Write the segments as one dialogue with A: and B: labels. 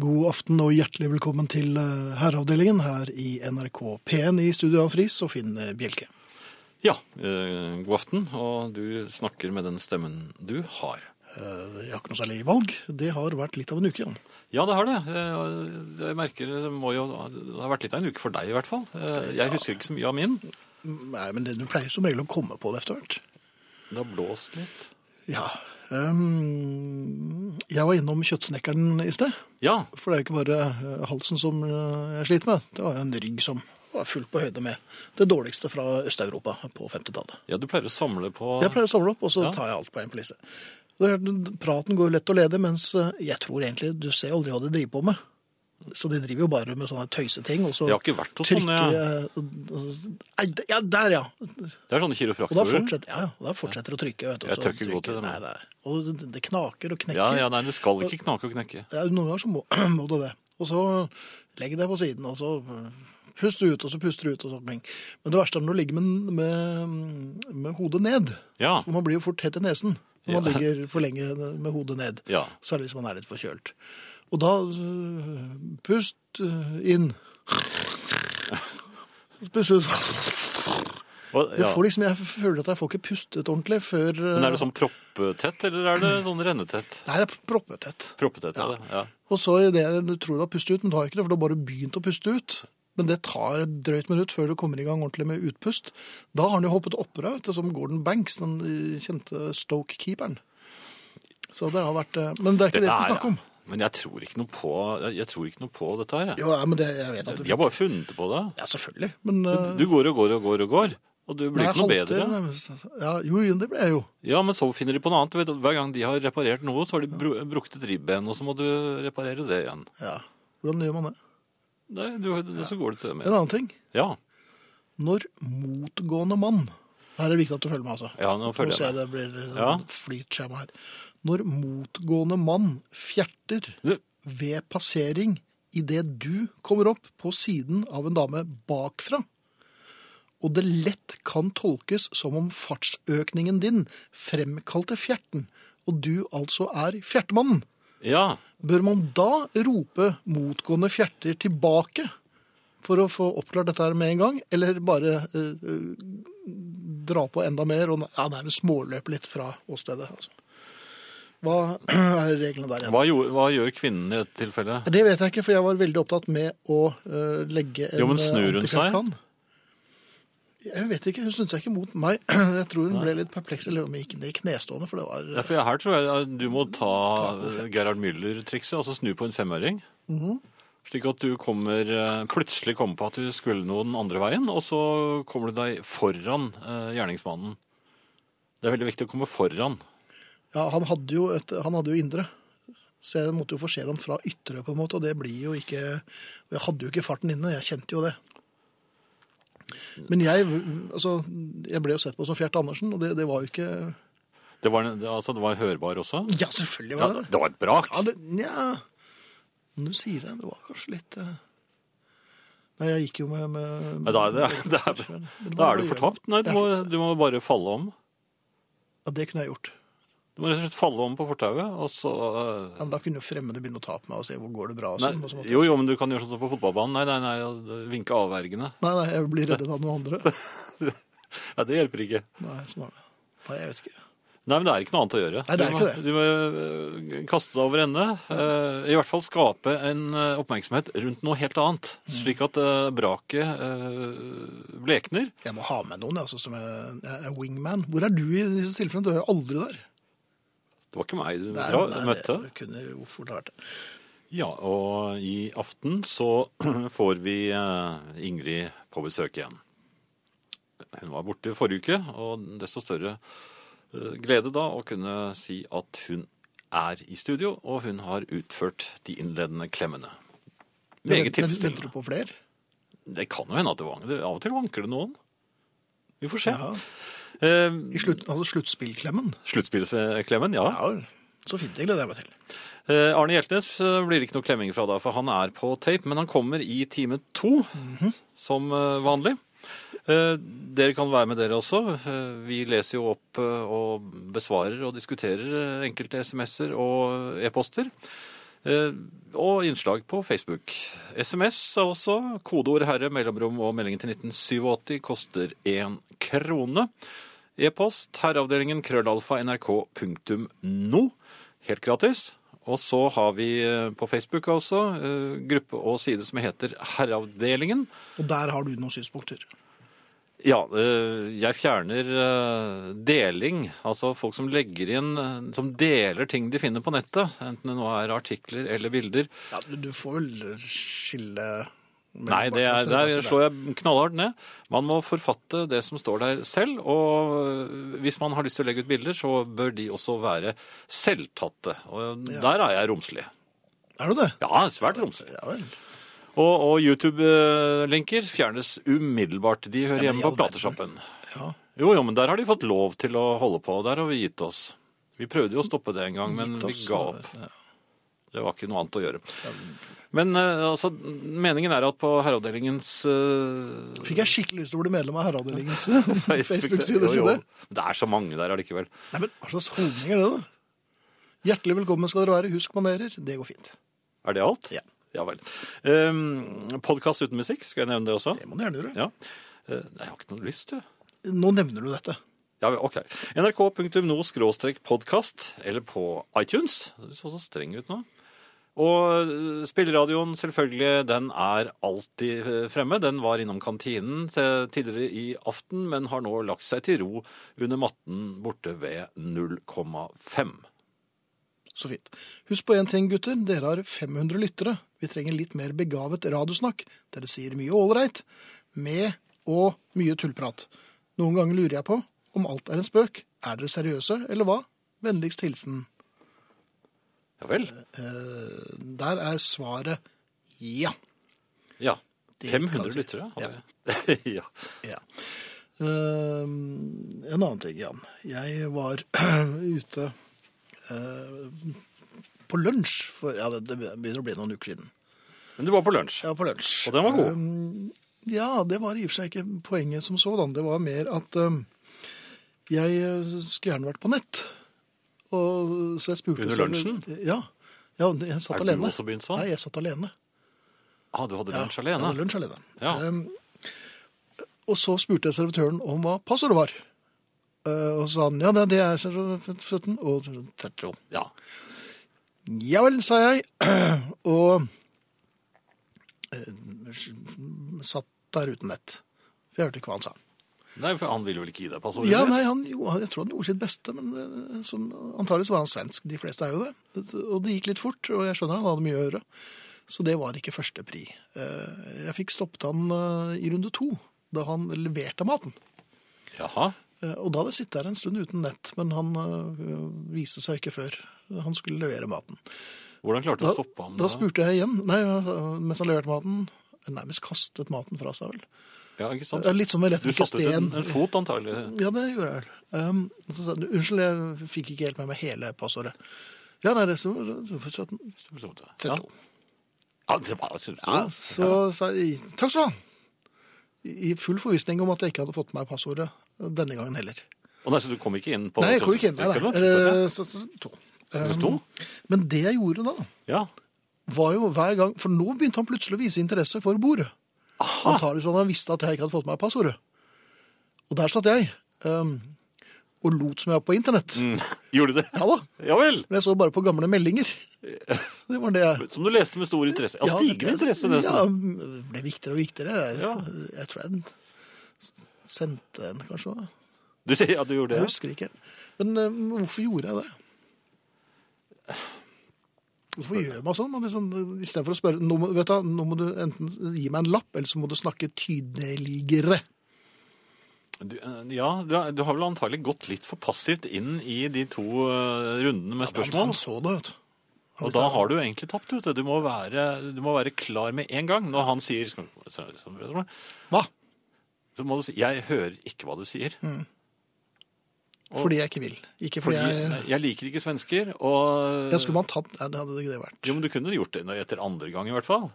A: God aften og hjertelig velkommen til eh, Herreavdelingen her i NRK P1 i studio av Friis og Finn eh, Bjelke.
B: Ja, eh, god aften, og du snakker med den stemmen du har.
A: Eh, Jeg har ikke noe særlig valg. Det har vært litt av en uke. Jan.
B: Ja, det har det. Eh, og Jeg merker det må jo Det har vært litt av en uke for deg, i hvert fall. Eh, Jeg husker ikke så mye av min.
A: Nei, men det, du pleier som regel å komme på det etter hvert.
B: Det har blåst litt.
A: Ja. ehm, jeg var innom kjøttsnekkeren i sted.
B: Ja.
A: For det er jo ikke bare eh, halsen som eh, jeg sliter med. Det var en rygg som var fullt på høyde med det dårligste fra Øst-Europa på 50-tallet.
B: ja, du pleier å samle på
A: Jeg pleier å samle opp, og så
B: Ja.
A: tar jeg alt på en flise. Det er klart, Praten går jo lett å lede, mens eh, jeg tror egentlig du ser aldri hva de driver på med. Så de driver jo bare med sånne tøyseting, og så
B: Jeg har ikke vært hos sånne. jeg.
A: jeg Nei, d- Ja, der, ja.
B: Det er sånne
A: Og da
B: kiropraktorer.
A: fortsetter, ja, ja, og da fortsetter å trykke. Vet du,
B: Jeg
A: så
B: tør ikke gå
A: trykker-
B: til dem.
A: Nei, nei. Og det- det knaker og knekker.
B: Ja, ja, nei, det skal ikke knake og knekke.
A: Ja, noen ganger så må, må du det. Og så legg deg på siden, og så puster du ut, og så puster du ut, og sånne ting. Men det verste er når du ligger med, med, med hodet ned.
B: Ja.
A: For man blir jo fort tett i nesen når man
B: Ja.
A: ligger for lenge med hodet ned.
B: Ja.
A: Særlig hvis man er litt forkjølt. Og da øh, pust øh, inn. Pust ut.
B: Og,
A: Jeg,
B: ja.
A: får liksom, jeg føler at jeg får ikke pustet ordentlig før øh,
B: Men er det sånn proppetett, eller er det sånn rennetett?
A: Nei, det er proppetett.
B: Proppetett, ja. det. ja.
A: Og så i det du tror du har pustet ut, men du har ikke det, for du har bare begynt å puste ut. Men det tar et drøyt minutt før du kommer i gang ordentlig med utpust. Da har han jo hoppet oppå deg, vet du, som Gordon Banks, den eh, kjente Stoke-keeperen. Så det har vært eh, Men det er ikke det vi skal
B: er-
A: snakke om.
B: Men jeg tror ikke noe på, jeg, jeg tror ikke noe på dette her. jeg.
A: Jo, ja, men det, jeg vet at du
B: Vi har bare funnet på det.
A: Ja, selvfølgelig. Men eh,
B: Du går og går og går og går, og du blir
A: nei,
B: ikke noe
A: halter,
B: bedre.
A: nei, Ja, jo, jo, det ble jeg jo.
B: Ja, men så finner de på noe annet. Vet, du, hver gang de har reparert noe, så har de bru brukket et ribben, og så må du reparere det igjen.
A: Ja. Hvordan gjør man det?
B: Nei, du, det, så går det til det
A: En
B: med.
A: annen ting.
B: Ja,
A: Når motgående mann Her er det viktig at du følger med, altså.
B: ja nå
A: Nå
B: følger
A: ser
B: jeg
A: jeg
B: med.
A: det blir sånn
B: Ja.
A: flytskjema her. Når motgående mann fjerter
B: Du,
A: ved passering idet du kommer opp på siden av en dame bakfra, og det lett kan tolkes som om fartsøkningen din fremkalte fjerten, og du altså er fjertemannen,
B: Ja,
A: bør man da rope motgående fjerter tilbake for å få oppklart dette her med en gang, eller bare eh, eh, dra på enda mer og ja, nærmest småløpe litt fra åstedet? Altså. Hva er reglene der igjen?
B: hva, gjorde, hva gjør kvinnen i dette tilfellet?
A: Det vet jeg ikke, for jeg var veldig opptatt med å eh, legge en
B: Jo, men snur hun seg?
A: antikrakan. Jeg vet ikke, hun snudde seg ikke mot meg. Jeg tror hun ble litt perpleks, eller om hun gikk ned i knestående, for det var eh,
B: Ja, for jeg- her tror jeg ja, du må ta eh, Gerhard Müller-trikset, altså snu på en femøring.
A: Mhm.
B: Slik at du kommer, eh, plutselig kommer på at du skulle noe den andre veien, og så kommer du deg foran eh, gjerningsmannen. Det er veldig viktig å komme foran.
A: Ja, han hadde jo, et, han hadde jo indre. Så jeg måtte jo forsere han fra ytre, på en måte, og det blir jo ikke og Jeg hadde jo ikke farten inne, jeg kjente jo det. Men jeg, altså, jeg ble jo sett på som Fjert Andersen, og det, det var jo ikke
B: Det var, en- det, altså, det var hørbar også?
A: Ja, selvfølgelig
B: Ja,
A: var det det.
B: det var et brak.
A: Ja, det, nja Når du sier det, det var kanskje litt eh, Nei, jeg gikk jo med, med
B: Nei, da, er det, det er, da er du fortapt. Nei, du må, du må bare falle om.
A: Ja, det kunne jeg gjort.
B: Du må rett og slett falle om på fortauet, og så eh,
A: Ja, men da kunne jo fremmede begynne å ta på meg og se hvor går det bra. Og
B: nei,
A: sånn, og så måtte jeg-
B: Jo, jo, men du kan gjøre sånn som på fotballbanen. Nei, nei, nei, og vinke avvergende.
A: Nei, nei, jeg blir reddet av noen andre.
B: Nei, det hjelper ikke.
A: Nei, smart. nei, jeg vet ikke.
B: Nei, men det er ikke noe annet å gjøre.
A: Nei, det er
B: du må,
A: ikke det.
B: Du må eh, kaste deg over ende. eh, I hvert fall skape en eh, oppmerksomhet rundt noe helt annet,
A: Mm.
B: slik at eh, braket eh, blekner.
A: Jeg må ha med noen, jeg, altså, som er, jeg er wingman. Hvor er du i disse tilfellene? Du er jo aldri der.
B: Det var ikke meg du
A: Nei,
B: dra-
A: nei,
B: møtte.
A: Jeg eh, kunne jo fort ha vært det.
B: Ja, og i aften så får vi eh, Ingrid på besøk igjen. Hun var borte forrige uke, og desto større eh, glede da å kunne si at hun er i studio, og hun har utført de innledende klemmene. Meget
A: Men Venter
B: tilfredsstillende.
A: du på flere?
B: Det kan jo hende at det vanker. Av og til vanker det noen. Vi får se.
A: Ja.
B: Eh,
A: I slutt, altså sluttspillklemmen?
B: Sluttspillklemmen, ja.
A: Ja vel. Så fint jeg gleder jeg meg til.
B: Eh, Arne Hjeltnes eh, blir det ikke noe klemming fra da, for han er på tape, men han kommer i time to, som eh, vanlig. Eh, Dere kan være med dere også. Eh, Vi leser jo opp eh, og besvarer og diskuterer eh, enkelte sms'er og eh, e-poster. Eh, Og innslag på Facebook. SMS er også. Kodeord herre, mellomrom og meldingen til 1987 koster én krone. E-post herreavdelingen krøllalfa nrk.no. Helt gratis. Og så har vi eh, på Facebook også eh, gruppe og side som heter Herreavdelingen.
A: Og der har du noen synspunkter.
B: Ja, eh, jeg fjerner eh, deling. Altså folk som legger inn eh, Som deler ting de finner på nettet. Enten det nå er artikler eller bilder.
A: Ja, du, du får vel skille mellom
B: Nei, det er,
A: partene,
B: der
A: altså,
B: slår jeg knallhardt ned. Man må forfatte det som står der selv. Og eh, hvis man har lyst til å legge ut bilder, så bør de også være selvtatte. Og øh, der er jeg romslig.
A: Er du det?
B: Ja, svært romslig.
A: Ja vel.
B: Og, og YouTube-linker fjernes umiddelbart. De hører
A: Ja, men i
B: hjemme på
A: all verden.
B: platesjappen.
A: Ja.
B: Jo, jo, men der har de fått lov til å holde på. Der har vi gitt oss. Vi prøvde jo å stoppe det en gang, men vi
A: Gitt
B: ga
A: oss,
B: opp. Det var ikke noe annet å gjøre. Men eh, altså, meningen er at på herreavdelingens eh,
A: Fikk jeg skikkelig lyst til å bli medlem av Herreavdelingens
B: Jo,
A: Facebook-side. si
B: jo.
A: det.
B: Det er så mange der allikevel.
A: Nei, men Hva slags holdning er det, da? Hjertelig velkommen skal dere være. Husk manerer. Det går fint.
B: Er det alt?
A: Ja.
B: Ja vel. Um, Podkast uten musikk, skal jeg nevne det også?
A: Det må du gjerne gjøre.
B: Ja. Eh, nei, jeg har ikke noe lyst, du.
A: Nå nevner du dette.
B: Ja, ok. NRK.no skråstrek podkast, eller på iTunes. Du så så streng ut nå. Og eh, spilleradioen, selvfølgelig, den er alltid eh, fremme. Den var innom kantinen til- tidligere i aften, men har nå lagt seg til ro under matten borte ved 0,5.
A: Så fint. Husk på én ting, gutter. Dere har 500 lyttere. Vi trenger litt mer begavet radiosnakk. Dere sier mye ålreit, med og mye tullprat. Noen ganger lurer jeg på om alt er en spøk. Er dere seriøse, eller hva? Vennligst hilsen.
B: Ja vel.
A: Eh, der er svaret ja.
B: Ja.
A: Det kan
B: 500
A: si.
B: lyttere har vi. ja.
A: Ja. Eh, en annen ting, Jan. Jeg var ute eh, på lunsj for ja, det, det begynner å bli noen uker siden.
B: Men du var på lunsj,
A: Ja, på lunsj.
B: og den var god.
A: Um, Ja, det var i og for seg ikke poenget som sådan. Det var mer at um, jeg eh, skulle gjerne vært på nett. Og, så jeg spurte
B: Under
A: selv-
B: lunsjen?
A: Ja. ja. Jeg satt
B: Er du
A: alene.
B: også begynt sånn?
A: Nei, jeg satt alene.
B: Ah, du hadde lunsj
A: Jeg
B: alene?
A: hadde lunsj alene.
B: Ja.
A: Um, og så spurte jeg servitøren om hva passordet var. Eh, og så sa han ja, det det er 17 og 30.
B: Ja.
A: Ja vel, sa jeg, og eh, satt der uten nett. For jeg hørte ikke hva han sa.
B: Nei, for han ville vel ikke gi deg passordet
A: Ja,
B: ditt?
A: nei, han, jo, jeg tror han gjorde sitt beste, men eh, som, antagelig så var han svensk. De fleste er jo det. Og det gikk litt fort, og jeg skjønner han hadde mye å gjøre. Så det var ikke første pri. Eh, Jeg fikk stoppet han eh, i runde to, da han leverte maten.
B: Jaha.
A: Eh, Og da hadde jeg sittet der en stund uten nett, men han eh, viste seg ikke før han skulle levere maten.
B: Hvordan klarte du å stoppe ham?
A: da spurte jeg igjen, nei, eh, mens han leverte maten, nærmest kastet maten fra seg vel.
B: Ja, ikke sant?
A: Det er Litt som med
B: Du
A: elektriske
B: satte ut en,
A: sten.
B: en fot, antagelig.
A: Ja, det gjorde jeg vel. Um, så sa han, unnskyld, jeg fikk ikke helt med meg hele passordet. Ja, nei, det var for 17.
B: Ja. ja, det var jeg synes du.
A: Ja, så sa jeg, takk skal du ha. I i full forvisning om at jeg ikke hadde fått med meg passordet denne gangen heller.
B: Og nei, så du kom ikke inn på
A: Nei, jeg kom ikke inn der.
B: Stykket,
A: Nei, Eh, um, så, så, to. Eh,
B: Det sto?
A: Men det jeg gjorde da,
B: Ja.
A: var jo hver gang, for nå begynte han plutselig å vise interesse for bordet. Antagelig sånn at han visste at jeg ikke hadde fått med meg passordet. Og der satt jeg, ehm, og lot som jeg var på internett.
B: Mm. Gjorde du det?
A: Ja da,
B: Ja vel.
A: men jeg så bare på gamle meldinger. Så det var det jeg...
B: Som du leste med stor interesse. Ja, stigende interesse,
A: Ja,
B: nesten.
A: det ble viktigere og viktigere.
B: Ja.
A: Jeg, jeg tror jeg den s- sendte en, kanskje. også.
B: Du sier ja, du gjorde
A: Jeg
B: det.
A: husker ikke. Men ehm, hvorfor gjorde jeg det? Hvorfor gjør man sånn? Man blir sånn I stedet for å spørre nå må, vet du, hva, nå må du enten gi meg en lapp, eller så må du snakke tydeligere.
B: Du, eh, ja, du, har- du har vel antagelig gått litt for passivt inn i de to eh, rundene med spørsmål.
A: Han så det, vet du.
B: Og da har du egentlig tapt, vet du. Du må være, du må være klar med en gang. Når han sier så så
A: Hva?
B: må du si 'jeg hører ikke hva du sier'.
A: Mm,
B: Og-
A: Fordi jeg ikke vil. Ikke fordi,
B: Fordi
A: jeg
B: jeg liker ikke svensker, og
A: Jeg skulle man tatt Nei, det hadde ikke det vært.
B: Jo, men du kunne gjort det etter andre gang, i hvert fall.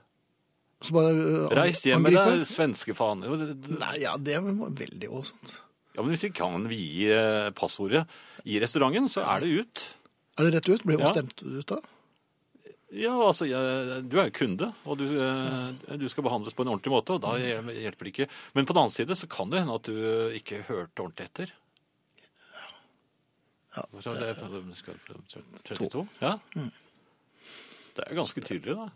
A: Så bare øh, an-
B: Reis hjem med
A: angripe.
B: deg, svenskefaen. Jo, det- det-
A: Nei, ja, det var veldig åsomt.
B: Ja, men hvis ikke han vie eh, passordet i restauranten, så er det ut.
A: Er det rett ut? Blir man
B: Ja.
A: stemt ut da?
B: Ja, altså, jeg, du er jo kunde, og du, eh, du skal behandles på en ordentlig måte, og da hjel- hjelper det ikke. Men på den annen side så kan det hende at du ikke hørte ordentlig etter.
A: Ja. Mm.
B: Så det er 32? Ja. Det er jo ganske tydelig, da.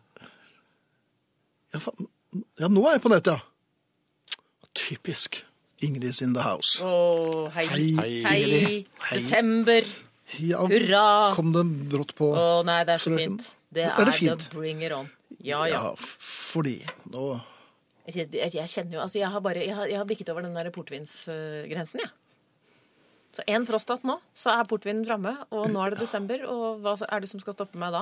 A: Ja, faen. ja nå er jeg på nettet, ja. Typisk. Ingrid's in the house.
C: Å, hei.
A: Hei,
B: Hei.
C: Hei.
A: Hei.
C: Desember.
A: Ja,
C: Hurra.
A: kom det brått på.
C: Å nei, det er så
A: Frøken.
C: fint. Det
A: Er
C: er,
A: det fint?
C: the bring it on. Ja, ja.
A: f- fordi nå
C: Jeg, jeg, jeg kjenner jo Altså, jeg har bare Jeg har, jeg har bikket over den der portvinsgrensen, jeg. Så én frostat nå, så er portvinen framme, og nå er det desember, og hva er det som skal stoppe meg da?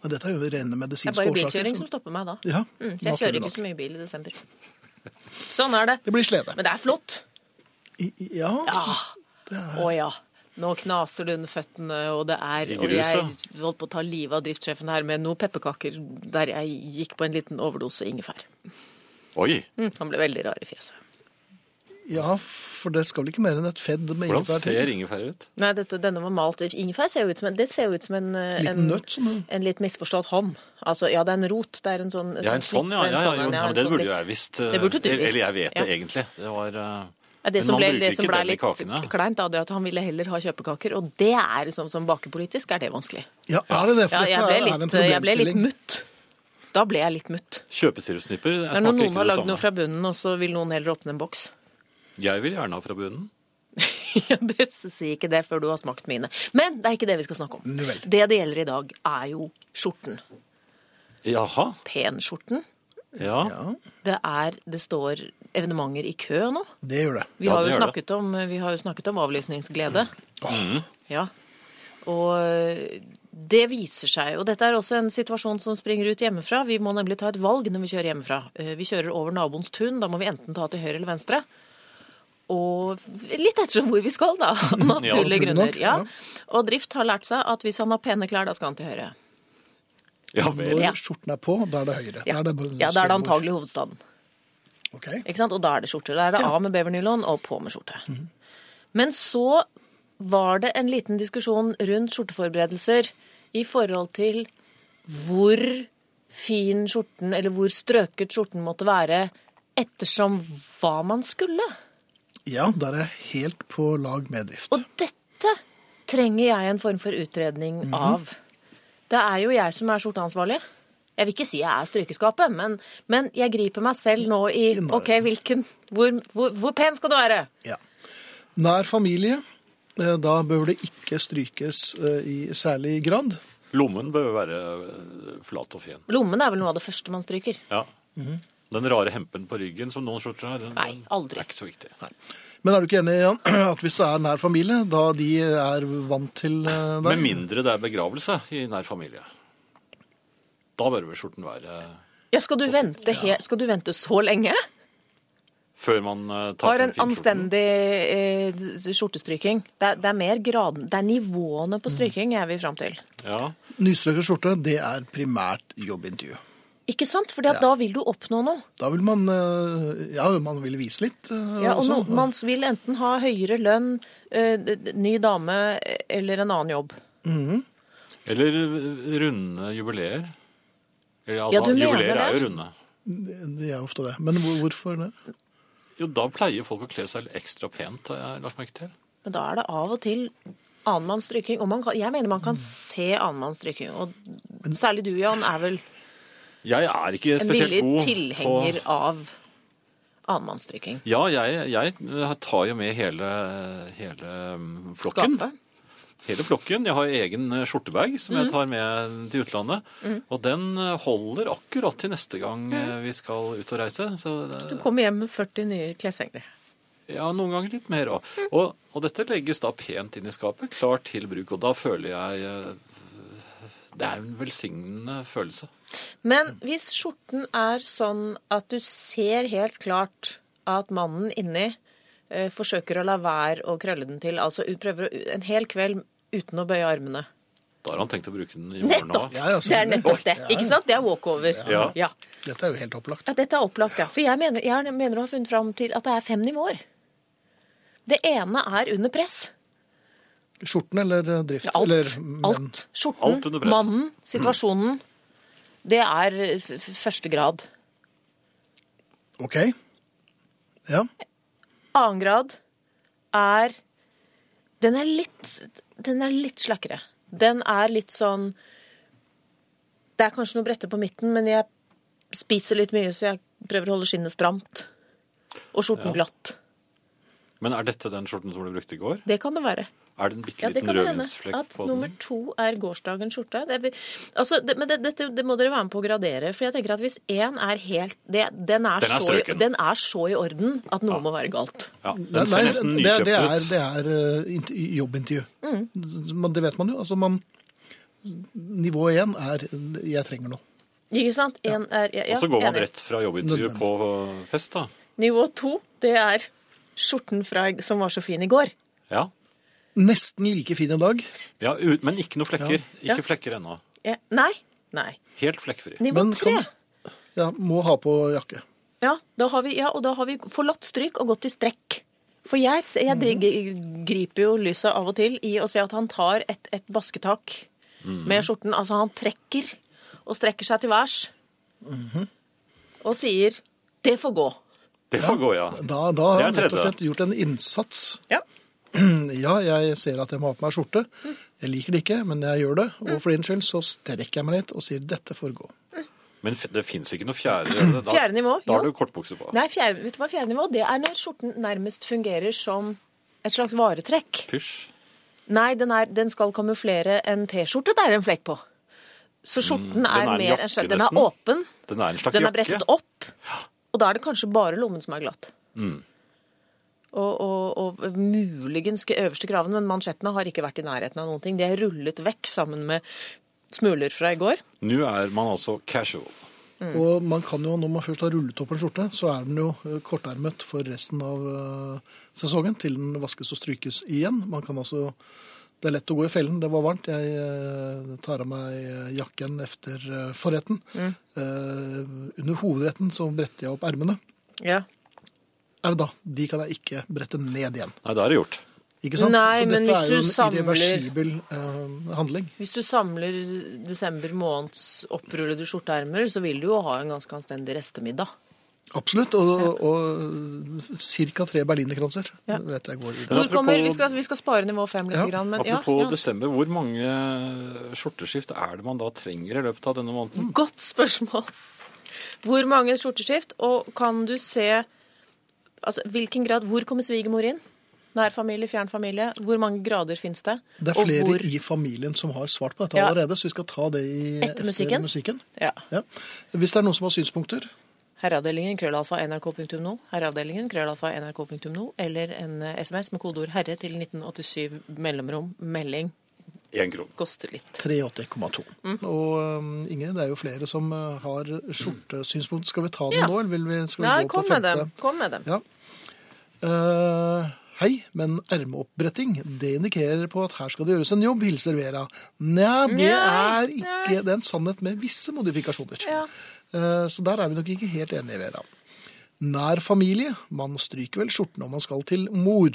A: Men dette er jo rene
C: Det er
A: medisinske
C: bare
A: årsaker.
C: bilkjøring som stopper meg da.
A: Ja,
C: Mm, så jeg kjører
A: naturlig
C: ikke så
A: nok.
C: mye bil i desember. Sånn er det.
A: Det blir slede.
C: Men det er flott.
A: I- i- Ja,
C: Ja. Ah, Å ja. Nå knaser du under føttene, og det er
B: I
C: Og jeg
B: gruset.
C: holdt på å ta livet av driftssjefen her med noen pepperkaker der jeg gikk på en liten overdose ingefær.
B: Oi!
C: Mm, han ble veldig rar i fjeset.
A: ja, for det skal vel ikke mer enn et fedd med
B: Hvordan
A: ingefær til?
B: ser ingefær ut?
C: Nei, dette, denne var malt Ingefær ser jo ut som en, det ser jo ut som en eh,
A: Liten
C: en,
A: nøtt som en-
C: en litt misforstått hånd. Altså, ja, det er en rot. Det er en sånn
B: Ja, en sånn, ja.
C: snipp,
B: ja,
C: en
B: ja,
C: sånn,
B: jo,
C: en,
B: ja
C: en
B: men det
C: sånn
B: burde
C: litt-
B: jeg visst. eh,
C: Det burde du
B: Eller jeg
C: visst,
B: vet
C: ja.
B: det egentlig. Det var eh,
C: Ja, Det
B: Men
C: som
B: man
C: ble,
B: bruker
C: det som
B: ikke
C: ble
B: den i
C: litt
B: kakene.
C: kleint, da, det er at han ville heller ha kjøpekaker. Og det er liksom, som bakepolitisk er det vanskelig.
A: Ja, er det det? For
C: Ja, jeg
A: dette
C: ble
A: er- er en
C: litt, jeg ble litt
A: problemstilling.
C: mutt. Da ble jeg litt mutt.
B: Kjøpesirupsnipper jeg
C: Det er
B: smaker
C: når
B: ikke
C: noen har
B: det
C: lagd
B: samme.
C: noe fra bunnen, og så vil noen heller åpne en boks.
B: Jeg vil gjerne ha fra bunnen.
C: Ja, det Si ikke det før du har smakt mine. Men det er ikke det vi skal snakke om.
A: Nu vel.
C: Det det gjelder i dag, er jo skjorten.
B: Jaha.
C: Penskjorten.
B: Ja.
A: Ja,
C: Det, er, det står evenementer i kø nå.
A: det gjør det.
C: Vi,
B: Ja,
C: har,
B: det gjør
C: jo
B: det.
C: snakket om, eh, vi har jo snakket om avlysningsglede. Ja. Og eh, det viser seg, og dette er også en situasjon som springer ut hjemmefra. Vi må nemlig ta et valg når vi kjører hjemmefra. Eh, Vi kjører over naboens tun, da må vi enten ta til høyre eller venstre. Og litt ettersom hvor vi skal, da. Av naturlige
A: naturlig nok,
C: grunner. Ja.
A: ja.
C: Og Drift har lært seg at hvis han har pene klær, da skal han til høyre.
B: Ja vel.
A: Når
C: Ja.
A: skjorten er på, da er det høyre.
C: Ja,
A: Da er det,
C: ja da er det antagelig hovedstaden.
A: Ok.
C: Ikke sant? Og da er det skjorte. Da er det av med bevernylon og på med skjorte. Men så var det en liten diskusjon rundt skjorteforberedelser i forhold til hvor fin skjorten, eller hvor strøket skjorten måtte være ettersom hva man skulle.
A: Ja, der er jeg helt på lag med drift.
C: Og dette trenger jeg en form for utredning av. Det er jo jeg som er skjorteansvarlig. Jeg vil ikke si jeg er strykeskapet, men, men jeg griper meg selv nå i
A: Nei.
C: OK, hvilken Hvor, hvor, hvor pen skal du være?
A: Ja. Nær familie, eh, da bør det ikke strykes eh, i særlig grad.
B: Lommen bør jo være eh, flat og fin.
C: Lommene er vel noe av det første man stryker.
B: Ja. Den rare hempen på ryggen som noen skjorter har, den,
C: Nei,
B: den
C: aldri.
B: er ikke så viktig.
A: Men er du ikke enig Jan, at hvis det er nær familie, da de er vant til eh, deg?
B: Med mindre det er begravelse i nær familie. Da bør vel skjorten være eh,
C: Ja, skal du vente, he skal du vente så lenge?
B: før man eh, tar
C: Har
B: frem
C: en
B: finskjorten.
C: anstendig eh, skjortestryking. Det er, det er mer graden, det er nivåene på stryking jeg vil fram til.
B: Ja.
A: Nystrøket skjorte, det er primært jobbintervju.
C: Ikke sant? Fordi at da vil du oppnå noe.
A: Da vil man eh, Ja, man vil vise litt eh,
C: Ja, altså- og
A: også.
C: no, man vil enten ha høyere lønn, eh, d- d- ny dame eh, eller en annen jobb.
B: Eller eh, runde jubileer. Eller, altså,
C: Ja, du mener
B: jubileer er
C: det?
B: jo runde.
A: Det er ofte det. Men hvor, hvorfor det?
B: Jo, da pleier folk å kle seg litt ekstra pent, har jeg lagt merke til.
C: Men da er det av og til annenmanns stryking. Og man kan, jeg mener man kan se annenmanns stryking. Og særlig du, Jan, er vel
B: Jeg er ikke
C: en
B: spesielt
C: villig
B: god
C: tilhenger
B: på
C: av annenmannsdrykking.
B: Ja, jeg, jeg tar jo med hele, hele mm, flokken.
C: Skapet. Mhm.
B: Hele flokken. Jeg har egen eh, skjortebag som jeg tar med til utlandet. Og den eh, holder akkurat til neste gang
C: Mhm.
B: eh, vi skal ut og reise. Så
C: Du
B: det-
C: kommer hjem med 40 nye kleshengere.
B: ja, noen ganger litt mer òg.
C: Mhm.
B: Og, og dette legges da pent inn i skapet, klar til bruk. Og da føler jeg eh, Det er en velsignende følelse.
C: Men hvis skjorten er sånn at du ser helt klart at mannen inni eh, forsøker å la være å krølle den til, altså u- prøver å, en hel kveld uten å bøye armene
B: Da har han tenkt å bruke den i morgen
C: Nettopp!
B: òg.
A: Ja, ja,
C: Det er nettopp det.
A: selvfølgelig.
C: Ikke sant? Det er walkover.
B: Ja.
C: Ja.
A: Dette er jo helt opplagt.
C: Ja, dette er opplagt, ja. For jeg mener, jeg mener å ha funnet fram til at det er fem nivåer. Det ene er under press.
A: Skjorten eller eh, drift?
C: Ja, alt.
A: Eller, men-
C: alt. Skjorten,
B: Alt under press. Mm.
C: mannen, situasjonen. Det er f- f- første grad.
A: Ok. Ja.
C: Annen grad er Den er litt, den er litt slakkere. Den er litt sånn Det er kanskje noe brette på midten, men jeg spiser litt mye, så jeg prøver å holde skinnet stramt. Og skjorten glatt.
B: Men er dette den skjorten som ble brukt i går?
C: Det kan det være.
B: Er det en bitte
C: Ja, det
B: liten
C: kan det hende.
B: rødvinsflekk
C: At
B: på
C: nummer
B: den?
C: to er gårsdagens skjorte. Det, er- altså, det, men det, dette, det må dere være med på å gradere. For jeg tenker at hvis én er helt det, den, er
B: Den er
C: så, i-
B: strøken.
C: den er så i orden at noe må være galt.
B: Ja, den
A: Det,
B: ser
A: nei,
B: nesten
A: det, det er,
B: nykjøpt ut.
A: det er eh, int- jobbintervju. Men Det vet man jo. Altså, man, nivå én er 'jeg trenger noe'.
C: Ikke sant? En er, ja, ja,
B: Og så går man
C: enig.
B: rett fra jobbintervju
A: Nødvendig.
B: på øh, fest, da.
C: Nivå to, det er skjorten fra, som var så fin i går.
B: Ja.
A: Nesten like fin en dag,
B: ja ut, men ikke noe flekker.
C: Ja.
B: Ikke flekker ennå.
C: Ja, nei. Nei.
B: Helt flekkfri.
C: Nivå
A: Men
C: tre.
A: kan- ja, må ha på jakke.
C: Ja, da har vi, ja, og da har vi forlatt stryk og gått i strekk. For jeg, se- jeg dri- griper jo lyset av og til i å se at han tar et, et basketak med skjorten. Altså han trekker og strekker seg til værs. Mhm. Og sier 'det får gå'.
B: Det får gå, ja.
A: Da, da har
B: Det er
A: han rett og
B: tredje.
A: slett gjort en innsats.
C: Ja.
A: Ja, jeg ser at jeg må ha på meg skjorte. Jeg liker det ikke, men jeg gjør det. Og for din skyld så strekker jeg meg litt og sier 'dette får gå'.
B: Men f- det fins ikke noe fjerde. gjør det? Da,
C: Fjerde nivå,
B: Da
C: jo.
B: har du kortbukse på.
C: Nei, fjerde, vet du hva fjerde nivå? Det er når skjorten nærmest fungerer som et slags varetrekk.
B: Pysj.
C: Nei, den, er, den skal kamuflere en T-skjorte det er en flekk på. Så skjorten er,
B: en
C: mer
B: jakke
C: enn slett. Mm, Den er
B: nesten.
C: åpen,
B: Den er en slags
C: den er
B: Altså, jakke.
C: brettet opp, og da er det kanskje bare lommen som er glatt.
B: Mm.
C: Og, og, og muligens ikke øverste kraven, men mansjettene har ikke vært i nærheten av noen ting. De er rullet vekk sammen med smuler fra i går.
B: Nå er man altså casual.
C: Mm.
A: Og man kan jo, når man først har rullet opp en skjorte, så er den jo eh, kortermet for resten av eh, sesongen til den vaskes og strykes igjen. Man kan altså Det er lett å gå i fellen. Det var varmt. Jeg eh, tar av meg eh, jakken etter eh, forretten.
C: Mm.
A: Eh, Under hovedretten så bretter jeg opp ermene.
C: Ja.
A: Au da, de kan jeg ikke brette ned igjen.
B: Nei, da er det gjort.
A: Ikke sant? så
C: Nei,
A: dette
C: men hvis
A: er jo
C: du
A: en
C: samler-
A: irreversibel eh, handling.
C: Hvis du samler desember måneds opprullede skjorteermer, så vil du jo ha en ganske anstendig restemiddag.
A: Absolutt. Og, og ca. tre berlinerkranser
C: Ja.
A: vet jeg går i.
B: Men
C: Hvor kommer,
B: apropos-
C: vi, skal, vi skal spare nivå fem litt.
A: Ja,
C: Grann, men, ja,
B: Apropos
C: ja.
B: desember, hvor mange skjorteskift er det man da trenger i løpet av denne måneden?
C: Godt spørsmål. Hvor mange skjorteskift, og kan du se altså, hvilken grad, Hvor kommer svigermor inn? Nær familie, fjern familie? Hvor mange grader fins det?
A: Det er
C: Og
A: flere
C: hvor,
A: i familien som har svart på dette
C: Ja.
A: allerede, så vi skal ta det i eh,
C: Etter musikken? Ja.
A: Ja. Hvis det er noen som har synspunkter,
C: Herreavdelingen, krøllalfa, nrk.no. Herreavdelingen, krøllalfa, nrk.no. Eller en eh, SMS med kodeord 'herre' til 1987 mellomrom. Melding
B: Én kron.
C: koster litt.
A: 83,2. Og um, Inge, det er jo flere som uh, har skjortesynspunkter. Skal vi ta den
C: Ja.
A: nå, eller vil vi, skal vi
C: Nei,
A: gå
C: kom
A: på
C: med
A: femte?
C: dem. Kom med dem.
A: Ja. Eh, hei, men ermeoppbretting, det indikerer på at her skal det gjøres en jobb, hilser Vera. Nja, det
C: Nei,
A: er ikke Det er en sannhet med visse modifikasjoner.
C: Ja.
A: Eh, så der er vi nok ikke helt enige, Vera. Nær familie. Man stryker vel skjorten om man skal til mor.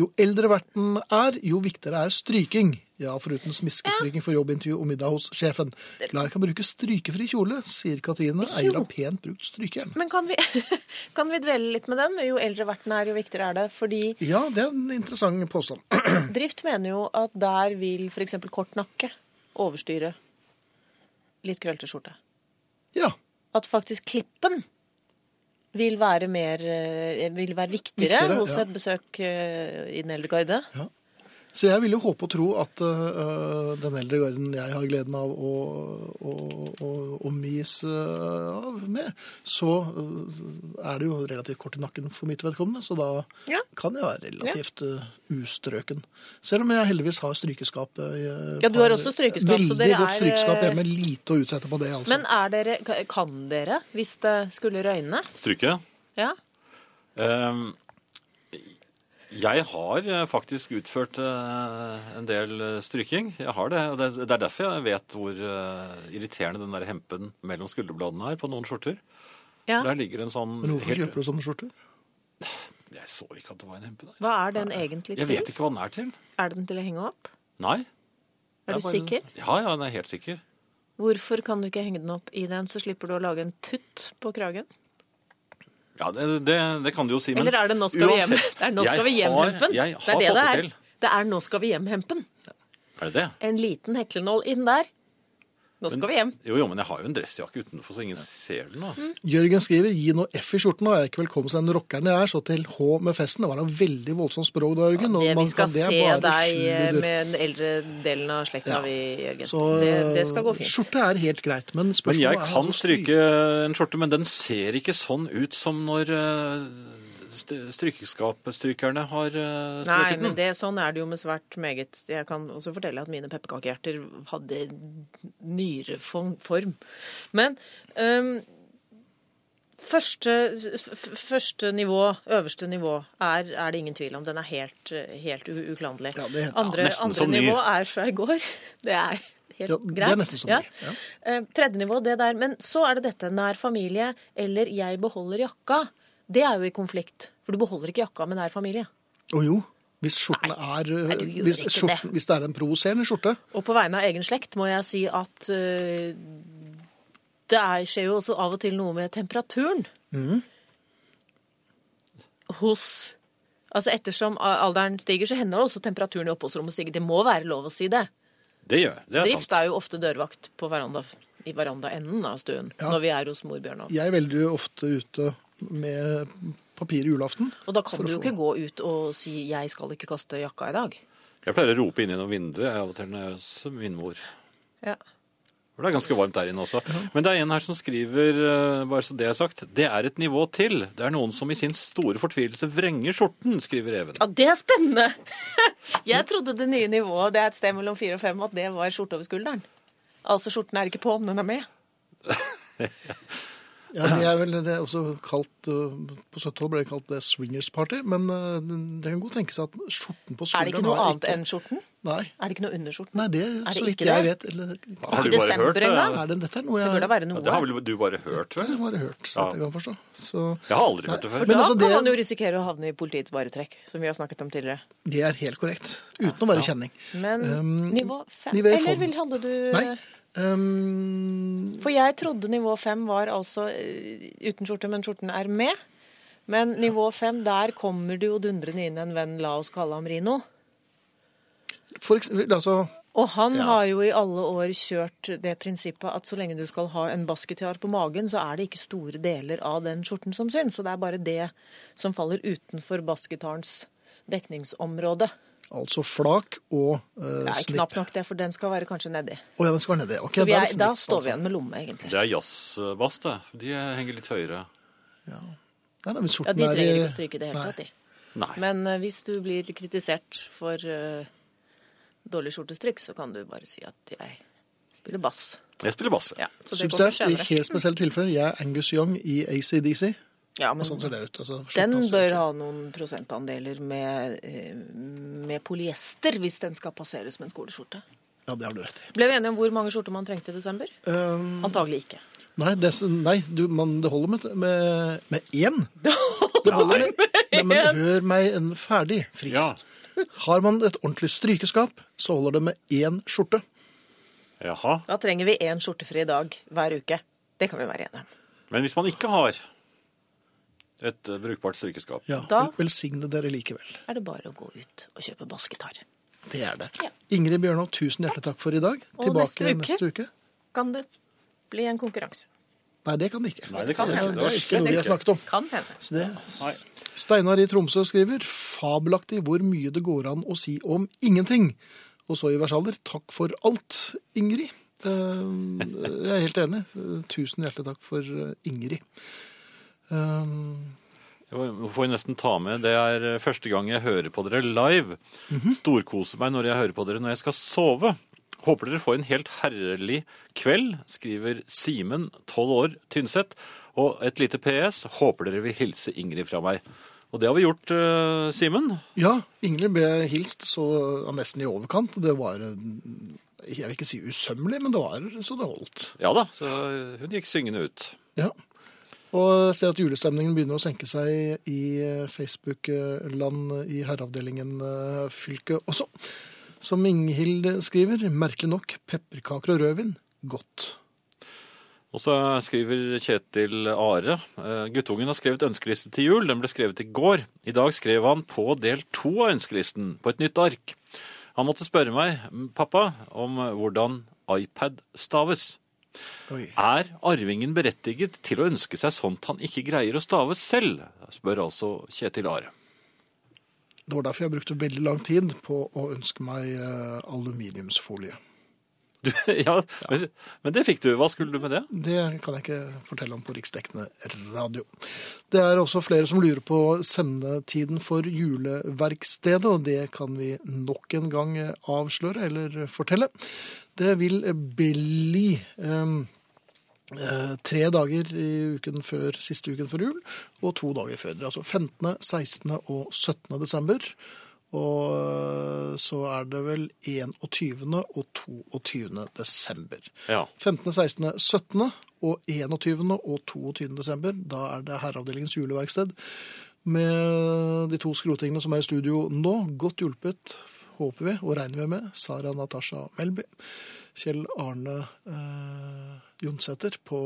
A: Jo eldre verten er, jo viktigere er stryking. Ja, foruten smiskestryking for jobbintervju og middag hos sjefen. Klar kan bruke strykefri kjole, sier Katrine, eier av pent brukt strykejern.
C: Men kan vi, kan vi dvele litt med den? Jo eldre verten er, jo viktigere er det. Fordi
A: Ja, det er en interessant påstand.
C: Drift mener jo at der vil f.eks. kort nakke overstyre litt krøllete skjorte.
A: Ja,
C: At faktisk klippen vil være, mer, eh, vil være viktigere,
A: Viktigere,
C: hos
A: ja.
C: et besøk eh, i den eldre garde.
A: Så jeg vil jo håpe og tro at øh, den eldre garden jeg har gleden av å, å, å omgis øh, av med, så øh, er det jo relativt kort i nakken for mitt vedkommende, så da
C: Ja.
A: kan jeg være relativt øh, ustrøken. Selv om jeg heldigvis har strykeskap. øh, i et
C: Ja, du har
A: par-
C: også strykeskap, så
A: Veldig
C: dere
A: godt
C: er,
A: strykeskap
C: øh,
A: hjemme. Lite å utsette på det, altså.
C: Men er dere, kan dere, hvis det skulle røyne?
B: Stryke.
C: Ja.
B: Ehm, jeg har eh, faktisk utført eh, en del eh, stryking. Jeg har det. og Det det er derfor jeg vet hvor eh, irriterende den der hempen mellom skulderbladene er på noen skjorter.
C: ja.
B: Der ligger en sånn
A: Men hvorfor
B: helt-
A: kjøper du sånne skjorter?
B: Jeg Jeg så ikke at det var en hempeneir.
C: Hva er den egentlig
B: Jeg
C: til?
B: vet ikke hva den er til.
C: Er den til å henge opp?
B: Nei.
C: Er
B: Det
C: du sikker?
B: Ja, ja, den er helt sikker.
C: Hvorfor kan du ikke henge den opp i den, så slipper du å lage en tutt på kragen?
B: Ja, det, det, det kan du jo si, men
C: Eller er det 'nå skal vi hjem'? Det er 'nå skal vi hjem-hempen'.
B: Jeg
C: Det er
B: har
C: det det
B: fått det
C: er.
B: til.
C: Det er 'nå skal vi hjem-hempen'.
B: Er det det?
C: En liten heklenål inn der. Nå skal vi hjem.
B: Jo, jo, men jeg har jo en dressjakke utenfor, så ingen ser den. da.
A: Jørgen skriver 'gi noe F i skjorten', og jeg er ikke velkommen som den rockeren jeg er, så til H med festen. Det var da veldig voldsomt språk da, Jørgen. og
C: Det,
A: man
C: vi skal
A: kan- det
C: se
A: er
C: deg eh,
A: bare sludder.
C: med den eldre delen av slekta, vi, Jørgen.
A: Så
C: det, det skal gå fint.
A: skjorte er helt greit, men
B: Men
A: spørsmålet
B: jeg
A: er
B: kan
A: altså
B: stryke en skjorte, men den ser ikke sånn ut som når eh, st- strykeskapstrykerne har eh,
C: Nei,
B: strøket den.
C: men det, sånn er det jo med svært meget. Jeg kan også fortelle at mine pepperkakehjerter hadde nyreform. Men øhm, første, f- f- første nivå, øverste nivå, er, er det ingen tvil om. Den er helt, helt u- uklanderlig.
A: Ja, det- ja,
C: andre
B: nesten
C: andre
B: som ny.
C: nivå er fra i går. Det er helt
A: Ja,
C: greit.
A: det er nesten som ny, ja.
C: Eh, Tredje nivå, det der. Men så er det dette nær familie eller 'jeg beholder jakka'. Det er jo i konflikt. For du beholder ikke jakka med nær familie.
A: Å jo, hvis skjorten er eh,
C: nei, du gjorde
A: hvis,
C: ikke det.
A: skjorten, hvis det er en provoserende skjorte
C: Og på vegne av egen slekt må jeg si at eh, det er, skjer jo også av og til noe med temperaturen
A: Mm.
C: hos Altså ettersom alderen stiger, så hender det også temperaturen i oppholdsrommet stiger. Det må være lov å si det.
B: Det gjør jeg. Det er
C: Drift
B: sant.
C: er jo ofte dørvakt på veranda, i verandaenden av stuen
A: Ja.
C: når vi er hos mor Bjørnov.
A: Jeg er veldig ofte ute med papir i julaften.
C: Og da kan
A: For å
C: du jo
A: få-
C: ikke gå ut og si 'jeg skal ikke kaste jakka i dag'.
B: Jeg pleier å rope inn gjennom vinduet av og til når jeg er hos min mor.
C: Ja.
B: For det er ganske varmt der inne også. Men det er en her som skriver, eh, bare så det er sagt, det er et nivå til. Det er noen som i sin store fortvilelse vrenger skjorten, skriver Even.
C: det er spennende! Jeg trodde det nye nivået, det er et sted mellom fire og fem, at det var skjorte over skulderen. Altså skjorten er ikke på, men den er med.
A: Ja, det er vel det er også kalt øh, På 70-tallet ble det kalt det swingers party, men øh, det kan godt tenkes at skjorten på
C: Er
A: skulderen
C: det ikke noe
A: har
C: annet enn skjorten?
A: Nei.
C: Er det ikke noe under skjorten?
A: Nei, det,
C: Er det
A: så vidt
C: ikke
A: jeg
C: det?
A: vet eller, det
B: Har
C: I
B: du bare
C: desember
B: hørt det?
C: en gang?
A: Er det dette er noe jeg
C: Bør det være
B: Ja,
C: noe?
B: det har vel du bare hørt,
A: jeg har
B: vel?
A: bare hørt, så
B: Ja.
A: vidt jeg kan forstå. Så
B: Jeg har aldri hørt det
C: For
B: før.
A: men
C: da
A: altså, det-
C: kan man jo risikere å havne i politiets varetrekk, som vi har snakket om tidligere.
A: det er helt korrekt. Uten å være kjenning.
C: Men
A: Um,
C: nivå fem
A: nivå fem.
C: Eller vil hadde du
A: Nei. Um,
C: For jeg trodde nivå fem var altså eh, uten skjorte, men skjorten er med. Men nivå fem, der kommer det jo dundrende inn en venn, la oss kalle ham Rino.
A: for eksempel, altså
C: Og han
A: Ja.
C: har jo i alle år kjørt det prinsippet at så lenge du skal ha en basketiar på magen, så er det ikke store deler av den skjorten som syns. Så det er bare det som faller utenfor basketarens dekningsområde.
A: Altså flak og uh,
C: Det er
A: snipp.
C: knapt nok det, for den skal være kanskje nedi.
A: Å ja, den skal være nedi. Ok,
C: Så vi
A: da er
C: er,
A: det
C: da
A: snipp,
C: står vi
A: altså.
C: igjen med lomme, egentlig.
B: Det er jazzbass, det. De henger litt høyere.
A: Nei, nei, men
C: Ja,
A: skjorten
C: De
A: er i-
C: trenger ikke å stryke i det hele
A: Nei.
C: tatt, de.
B: Nei.
C: Men eh, hvis du blir kritisert for eh, dårlig skjortestrykk, så kan du bare si at jeg spiller bass.
B: Jeg spiller bass.
C: Ja, så det
A: Subsidiært,
C: kommer
A: i
C: senere.
A: helt spesielle tilfeller. Jeg er Angus Young i ACDC.
C: Ja,
A: Og sånn
C: men
A: ser det ut. Altså, skjorten
C: Mm. den
A: hans er-
C: bør ha noen prosentandeler med, eh, med polyester hvis den skal passeres med en skoleskjorte.
A: Ja, det har du rett i.
C: Ble vi enige om hvor mange skjorter man trengte i desember?
A: Eh,
C: Antagelig ikke.
A: nei, det, nei du, man, det holder med, med, med én. Det holder med, nei, men hør meg en ferdig, Friis.
B: Ja.
A: Har man et ordentlig strykeskap, så holder det med én skjorte.
B: Jaha.
C: Da trenger vi én skjortefri dag hver uke. Det kan vi være enige om.
B: Men hvis man ikke har et eh, brukbart strykeskap
A: Ja,
C: Da-
A: vel- Velsigne dere likevel.
C: Er det bare å gå ut og kjøpe bassgitar?
A: Det er det.
C: Ja.
A: Ingrid Bjørnov, tusen hjertelig takk for i dag.
C: Og
A: Tilbake
C: neste uke.
A: neste uke.
C: Kan det bli en konkurranse?
A: Nei, det kan det ikke.
B: Nei, det kan jeg ikke.
A: Det er ikke noe vi har snakket om.
C: Kan hende.
A: Så det, Steinar i Tromsø skriver fabelaktig hvor mye det går an å si om ingenting. Og så i versaler takk for alt, Ingrid. Eh, Jeg er helt enig. Eh, Tusen hjertelig takk for eh, Ingrid. Eh,
B: Nå får jeg nesten ta med. Det er eh, første gang jeg hører på dere live. Storkoser meg når jeg hører på dere når jeg skal sove. Håper dere får en helt herlig kveld, skriver Simen, 12 år, Tynset. Og et lite PS. Håper dere vil hilse Ingrid fra meg. Og det har vi gjort, eh, Simen.
A: Ja, Ingrid ble hilst så ja, nesten i overkant. Det var eh, Jeg vil ikke si usømmelig, men det var så det holdt.
B: Ja da, så hun gikk syngende ut.
A: Ja. Og jeg ser at julestemningen begynner å senke seg i Facebook-land i herreavdelingen-fylket også. Som Inghild skriver, merkelig nok, pepperkaker og rødvin, godt.
B: Og så skriver Kjetil Are. eh, Guttungen har skrevet ønskeliste til jul. Den ble skrevet i går. I dag skrev han på del to av ønskelisten, på et nytt ark. Han måtte spørre meg, pappa, om hvordan iPad staves.
A: Oi.
B: Er arvingen berettiget til å ønske seg sånt han ikke greier å stave selv? spør altså Kjetil Are.
A: Det var derfor jeg brukte veldig lang tid på å ønske meg eh, aluminiumsfolie.
B: Du, ja, men- men det fikk du. Hva skulle du med det?
A: Det kan jeg ikke fortelle om på riksdekkende radio. Det er også flere som lurer på sendetiden for juleverkstedet, og det kan vi nok en gang avsløre eller fortelle. Det vil bli em, eh, tre dager i uken før, siste uken før jul, og to dager før. Altså 15., 16. og 17. desember. Og eh, så er det vel 21. og 22. desember.
B: Ja.
A: 15., 16., 17. og 21. og 22. desember. Da er det Herreavdelingens juleverksted. Med de to skrotingene som er i studio nå, godt hjulpet, håper vi, og regner vi med, Sara Natasha Melby, Kjell Arne eh, Jonsæter på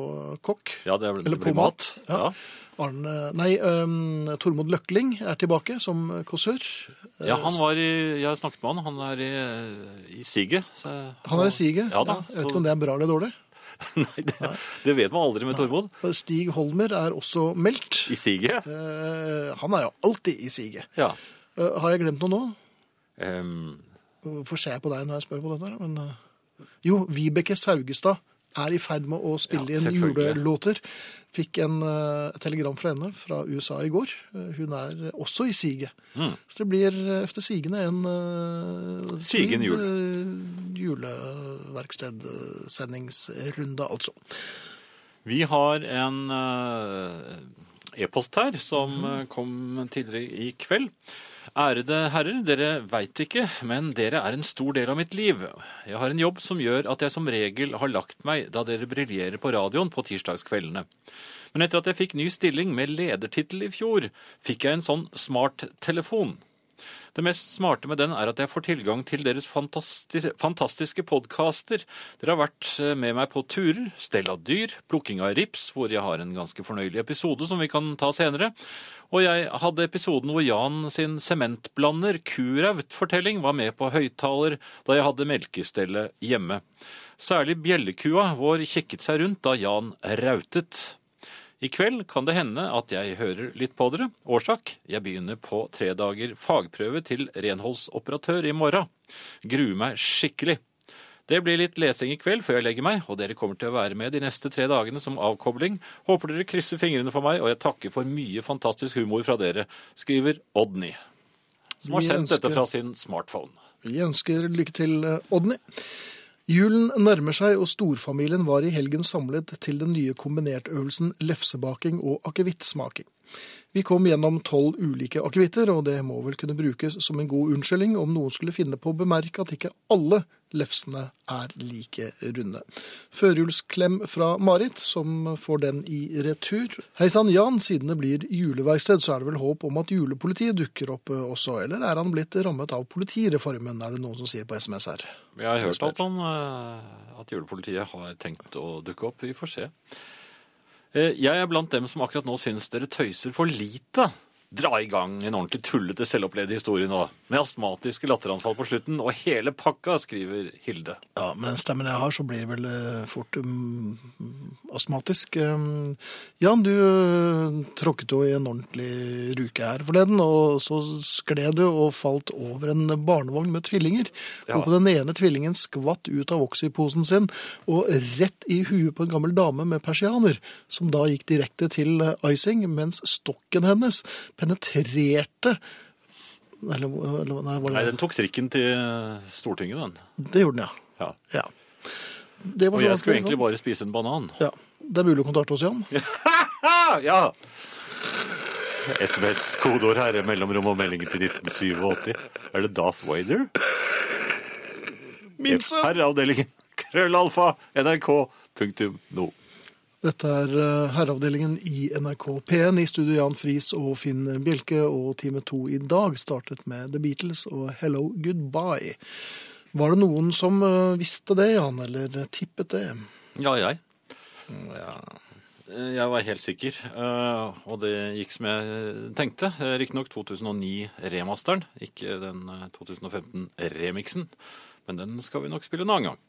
A: kokk.
B: Ja, det er vel-
A: Eller
B: det blir
A: på mat.
B: mat.
A: Ja. Arne, nei, eh, Tormod Løkling er tilbake som kåsør. Eh,
B: Ja. ja, han var i Jeg har snakket med han. Han er i, i siget. så-
A: Han er i siget.
B: Ja da.
A: jeg vet
B: så-
A: ikke om det er bra eller dårlig.
B: Nei, det, det vet man aldri med Tormod.
A: Stig Holmer er også meldt.
B: I siget?
A: Eh, han er jo alltid i siget.
B: Ja.
A: Eh, har jeg glemt noe nå?
B: Em,
A: Hvorfor ser jeg på deg når jeg spør på dette? her, Men, eh, jo, Vibeke Saugestad er i ferd med å spille
B: Ja,
A: inn
B: selvfølgelig.
A: julelåter. Fikk en, eh, et telegram fra henne fra USA i går. Eh, Hun er også i siget.
B: Mm.
A: Så det blir eh, efter sigende en eh,
B: Sigen
A: solid,
B: jul.
A: eh, Juleverkstedsendingsrunde, altså.
B: vi har en eh, e-post her som eh, kom tidligere i kveld. Ærede herrer, dere veit ikke, men dere er en stor del av mitt liv. Jeg har en jobb som gjør at jeg som regel har lagt meg da dere briljerer på radioen på tirsdagskveldene. Men etter at jeg fikk ny stilling med ledertittel i fjor, fikk jeg en sånn smarttelefon. Det mest smarte med den er at jeg får tilgang til deres fantasti fantastiske podkaster. Dere har vært eh, med meg på turer, stell av dyr, plukking av rips, hvor jeg har en ganske fornøyelig episode som vi kan ta senere. Og jeg hadde episoden hvor Jan sin sementblander Kuraut-fortelling var med på høyttaler da jeg hadde melkestellet hjemme. Særlig bjellekua vår kikket seg rundt da Jan rautet. I kveld kan det hende at jeg hører litt på dere. Årsak? Jeg begynner på tre dager fagprøve til renholdsoperatør i morgen. Gruer meg skikkelig. Det blir litt lesing i kveld før jeg legger meg, og dere kommer til å være med de neste tre dagene som avkobling. Håper dere krysser fingrene for meg, og jeg takker for mye fantastisk humor fra dere, skriver Odny, som har
A: Vi
B: sendt dette
A: ønsker-
B: fra sin smartphone.
A: Vi ønsker lykke til, eh, Odny. Julen nærmer seg, og storfamilien var i helgen samlet til den nye kombinertøvelsen lefsebaking og akevittsmaking. Vi kom gjennom tolv ulike akevitter, og det må vel kunne brukes som en god unnskyldning om noen skulle finne på å bemerke at ikke alle lefsene er like runde. Førjulsklem fra Marit, som får den i retur. Hei sann, Jan. Siden det blir juleverksted, så er det vel håp om at julepolitiet dukker opp eh, også? Eller er han blitt rammet av politireformen, er det noen som sier på SMS her?
B: Jeg har hørt at, han, eh, at julepolitiet har tenkt å dukke opp. Vi får se. Eh, Jeg er blant dem som akkurat nå syns dere tøyser for lite. Dra i gang en ordentlig tullete selvopplevd historie nå, med astmatiske latteranfall på slutten og hele pakka, skriver Hilde.
A: Ja, med den stemmen jeg har, så blir det vel eh, fort um, astmatisk. Um, Jan, du eh, tråkket jo i en ordentlig ruke her forleden, og så skled du og falt over en barnevogn med tvillinger.
B: Ja.
A: Og på den ene tvillingen skvatt ut av oxyposen sin, og rett i huet på en gammel dame med persianer, som da gikk direkte til eh, icing, mens stokken hennes penetrerte eller, eller, nei, var
B: Nei,
A: det,
B: den tok trikken til Stortinget, den.
A: det gjorde den, ja.
B: Ja.
A: ja. Det var
B: Og
A: så
B: jeg
A: vanskelig
B: skulle
A: å komme.
B: egentlig bare spise en banan.
A: Ja, Det er mulig å kontakte oss, Jan.
B: Ah, ja! SMS, kodeord herre, mellomrom og meldingen til 1987. Er det Darth Vader?
A: Min sønn!
B: Herreavdelingen. Krøllalfa. NRK. Punktum. No.
A: Dette er eh, herreavdelingen i NRK P1 i studio Jan Friis og Finn Bjelke, og time to i dag startet med The Beatles og Hello Goodbye. Var det noen som eh, visste det, Jan, eller tippet det?
B: Ja, jeg. Eh, Jeg var helt sikker, eh, og det gikk som jeg eh, tenkte. Eh, Riktignok 2009-remasteren, ikke den eh, 2015-remiksen. Men den skal vi nok spille en annen gang.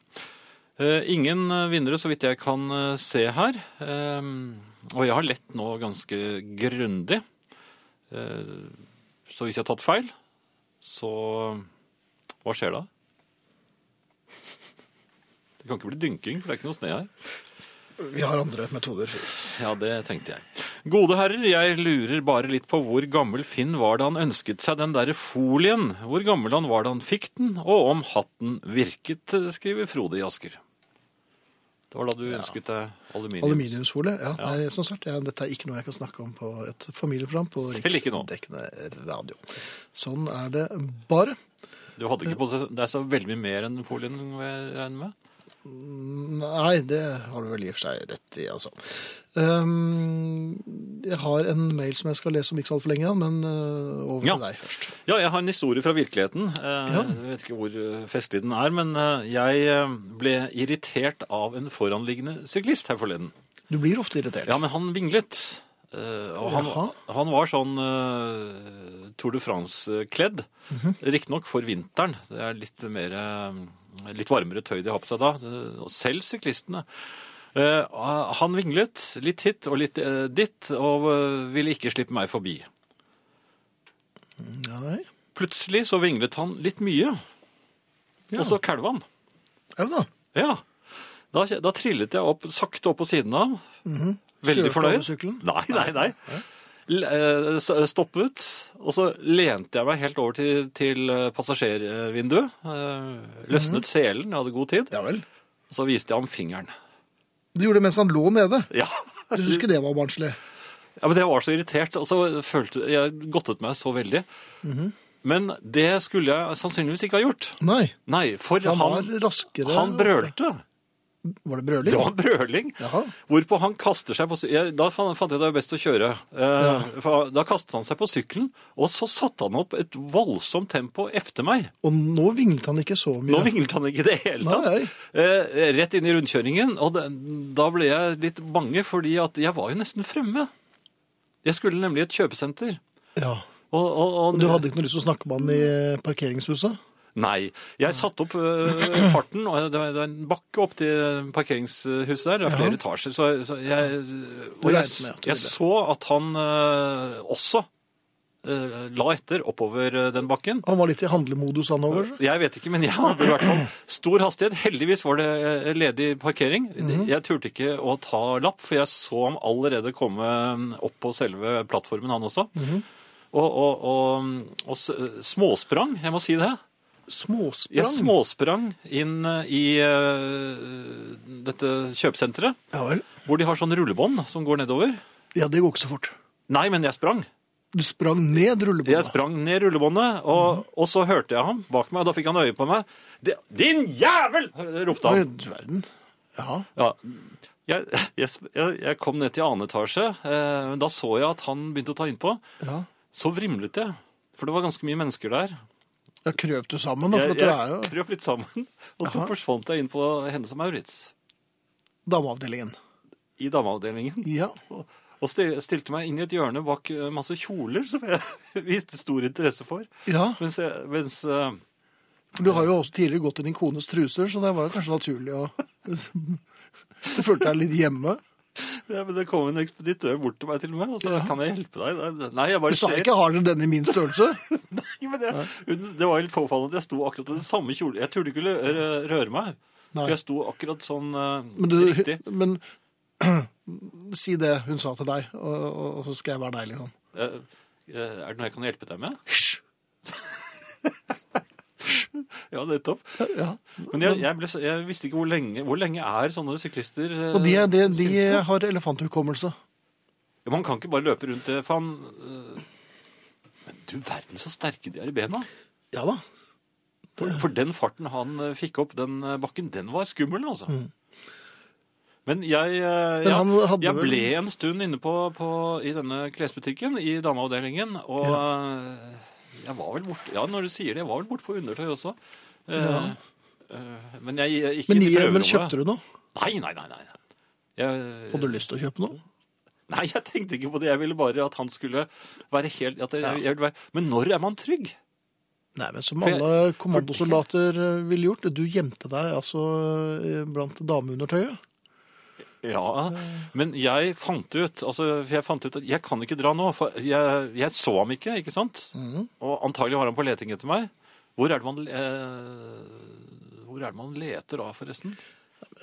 B: Eh, Ingen eh, vinnere, så vidt jeg kan eh, se her. Eh, Og jeg har lett nå ganske grundig. Eh, Så hvis jeg har tatt feil, så hva skjer da? Det kan ikke bli dynking, for det er ikke noe sne her.
A: Vi har andre metoder, Friis.
B: Ja, det tenkte jeg. Gode herrer, jeg lurer bare litt på hvor gammel Finn var da han ønsket seg den derre folien. Hvor gammel han var da han fikk den, og om hatten virket, skriver Frode i Asker. Det var da du ønsket deg aluminium.
A: Aluminiumsfolie? Ja. Nei, som sagt, ja, dette er ikke noe jeg kan snakke om på et familieprogram på
B: Selv ikke nå.
A: riksdekkende radio. Sånn er det bare.
B: Du hadde ikke på deg så veldig mye mer enn folien, må jeg regne med?
A: Nei, det har du vel i og for seg rett i, altså. Ehm, jeg har en mail som jeg skal lese om ikke så altfor lenge, men øh, over
B: Ja.
A: til deg først.
B: Ja, jeg har en historie fra virkeligheten. Eh,
A: Ja.
B: Jeg vet ikke hvor eh, festlig den er, men eh, jeg eh, ble irritert av en foranliggende syklist her forleden.
A: Du blir ofte irritert.
B: Ja, men han vinglet. Eh, og han,
A: Jaha.
B: han var sånn eh, Tour de France-kledd.
A: Mhm.
B: Riktignok for vinteren. Det er litt, mer, eh, litt varmere tøy de har på seg da. eh, og Selv syklistene. Eh, han vinglet litt hit og litt eh, dit, og eh, ville ikke slippe meg forbi.
A: Nei.
B: Plutselig så vinglet han litt mye,
A: Ja.
B: og så kalva han.
A: Jau da.
B: Ja. Da, da trillet jeg opp, sakte opp på siden av ham. Veldig
A: Kjørte
B: fornøyd.
A: over sykkelen?
B: Nei, Mhm. nei, nei. L- eh, s- Stoppet, og så lente jeg meg helt over til, til eh, passasjervinduet. eh, Løsnet selen, jeg hadde god tid.
A: Ja vel.
B: og Så viste jeg ham fingeren.
A: Du gjorde det mens han lå nede.
B: Ja.
A: Du syns ikke det var barnslig?
B: ja, men jeg var så irritert, og så følte jeg godtet meg så veldig. Mhm. Men det skulle jeg sannsynligvis ikke ha gjort.
A: Nei.
B: Nei, for
A: Han
B: han,
A: var
B: han,
A: raskere
B: brølte.
A: Var det
B: Det
A: brøling?
B: var en brøling.
A: Jaha.
B: Hvorpå han kaster seg på sy- jeg, Da fan- fant jeg det var best å kjøre. Eh, for Da kastet han seg på sykkelen, og så satte han opp et voldsomt tempo efter meg.
A: Og nå vinglet han ikke så mye.
B: Nå vinglet han ikke i det hele tatt.
A: Nei.
B: Eh, rett inn i rundkjøringen, og det, da ble jeg litt bange, fordi at jeg var jo nesten fremme. Jeg skulle nemlig i et kjøpesenter.
A: Ja.
B: Og, og, og,
A: Du hadde ikke noe lyst til å snakke med han i parkeringshuset?
B: Nei. Jeg satte opp øh, farten, og det var det var en bakke opp til parkeringshuset der. Det er
A: Ja.
B: flere etasjer. Så, så jeg,
A: regnet
B: og jeg,
A: med at du ville.
B: jeg så at han øh, også øh, la etter oppover øh, den bakken.
A: Han var litt i handlemodus, han òg, kanskje?
B: Jeg vet ikke, men jeg hadde i hvert fall stor hastighet. Heldigvis var det øh, ledig parkering.
A: Mhm.
B: Jeg turte ikke å ta lapp, for jeg så ham allerede komme mm, opp på selve plattformen, han også.
A: Mhm.
B: Og, og, og, og s- småsprang, jeg må si det.
A: Småsprang?
B: Jeg småsprang inn eh, i eh, dette kjøpesenteret,
A: Ja vel.
B: hvor de har sånn rullebånd som går nedover.
A: Ja, det går ikke så fort.
B: Nei, men jeg sprang.
A: Du sprang ned rullebåndet.
B: Jeg sprang ned rullebåndet,
A: Mhm.
B: og, og så hørte jeg ham bak meg, og da fikk han øye på meg. Det, 'Din jævel!' ropte
A: Oi,
B: han.
A: du verden. Ja.
B: Ja. Jeg, jeg, sp- jeg, jeg kom ned til annen etasje, eh, men da så jeg at han begynte å ta innpå.
A: ja.
B: Så vrimlet jeg, for det var ganske mye mennesker der.
A: Da krøp du sammen, da, for at du
B: Jeg,
A: er
B: jeg
A: jo
B: krøp litt sammen, og så
A: Jaha.
B: forsvant jeg inn på henne som Maurits
A: dameavdelingen.
B: i dameavdelingen.
A: Ja.
B: Og og stil- stilte meg inn i et hjørne bak eh, masse kjoler som jeg viste stor interesse for.
A: ja.
B: Mens, jeg, mens eh,
A: For du har jo også tidligere gått i din kones truser, så det var jo kanskje naturlig å Du følte deg litt hjemme.
B: ja, men det kom en ekspeditør bort til meg til og med og sa kan jeg hjelpe deg? Nei, Nei, jeg
A: Du
B: bare
A: sa
B: ser.
A: ikke 'har dere denne i min størrelse'?
B: Nei, men jeg, hun- det var litt påfallende at jeg sto akkurat på den samme kjolen. Jeg turte ikke lø- rø- røre meg.
A: Nei.
B: For jeg sto akkurat sånn eh,
A: Men, du,
B: riktig.
A: men si det hun sa til deg, og, og, og så skal jeg være deg, liksom.
B: Eh, eh, er det noe jeg kan hjelpe deg med?
A: Hysj!
B: Ja, nettopp.
A: Ja.
B: Men jeg, jeg, ble, så- jeg visste ikke hvor lenge, hvor lenge er sånne syklister eh,
A: Og de, er- de, de
B: sinte?
A: har elefanthukommelse.
B: Ja, Man kan ikke bare løpe rundt det, for han øh, Men du verden så sterke de er i bena.
A: Ja da.
B: For, for den farten han øh, fikk opp den øh, bakken, den var skummel, altså. Men jeg, eh,
A: Mm. Men
B: ja,
A: han hadde
B: jeg
A: vel-
B: ble en stund inne på, på, i denne klesbutikken i dameavdelingen, og eh, jeg var vel borte Ja, når du sier det, jeg var vel borte på undertøy også. Eh, eh, Men jeg gikk
A: Men,
B: inn i
A: i-
B: prøverommet.
A: men kjøpte du noe?
B: Nei, nei, nei. nei. Jeg,
A: Hadde du lyst til å kjøpe noe?
B: nei, jeg tenkte ikke på det. Jeg ville bare at han skulle være helt at jeg,
A: Ja.
B: jeg ville være, Men når er man trygg?
A: Nei, men som
B: For jeg-
A: alle kommandosoldater eh, ville gjort. Du gjemte deg altså eh, blant dameundertøyet.
B: Ja, men jeg fant ut altså, for jeg fant ut at jeg kan ikke dra nå. For jeg, jeg så ham ikke, ikke sant? Og antagelig var han på leting etter meg. Hvor er det man, eh, hvor er det man leter da, forresten?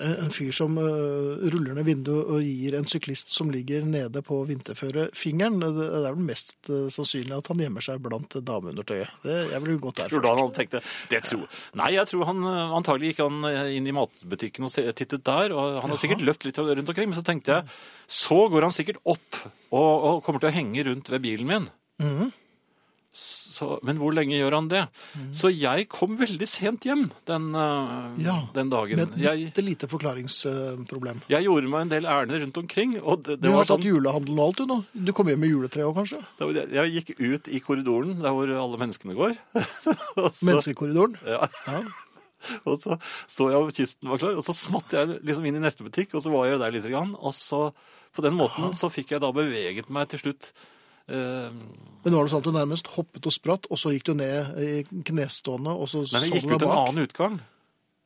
A: Eh, En fyr som eh, ruller ned vinduet og gir en syklist som ligger nede på vinterføret, fingeren. Det det er vel mest eh, sannsynlig at han gjemmer seg blant dameundertøyet. Det, jeg ville gått derfor.
B: Tror du han hadde tenkt det? Det tror Nei, jeg tror han eh, antagelig gikk han eh, inn i matbutikken og se- tittet der. Og han har sikkert løpt litt rundt omkring. Men så tenkte jeg så går han sikkert opp og, og kommer til å henge rundt ved bilen min. Så, men hvor lenge gjør han det? Så jeg kom veldig sent hjem den, eh,
A: Ja,
B: den dagen.
A: Med et
B: Jeg,
A: lite, lite forklaringsproblem.
B: jeg gjorde meg en del ærender rundt omkring. og det,
A: Du
B: det var
A: har
B: sånn...
A: tatt julehandelen og alt, du nå. Du kom hjem med juletre òg, kanskje?
B: Da- Jeg gikk ut i korridoren, der hvor alle menneskene går. og så-
A: Menneskekorridoren.
B: Ja.
A: Ja.
B: Og så så jeg og kisten var klar, og så smatt jeg liksom inn i neste butikk, og så var jeg der litt. Grann, og så på den måten så fikk jeg da beveget meg til slutt. Eh,
A: Men var det sånn at du nærmest hoppet og spratt, og så gikk du ned i knestående, og så
B: men
A: så
B: jeg
A: du
B: gikk
A: deg
B: ut en
A: bak?
B: annen utgang.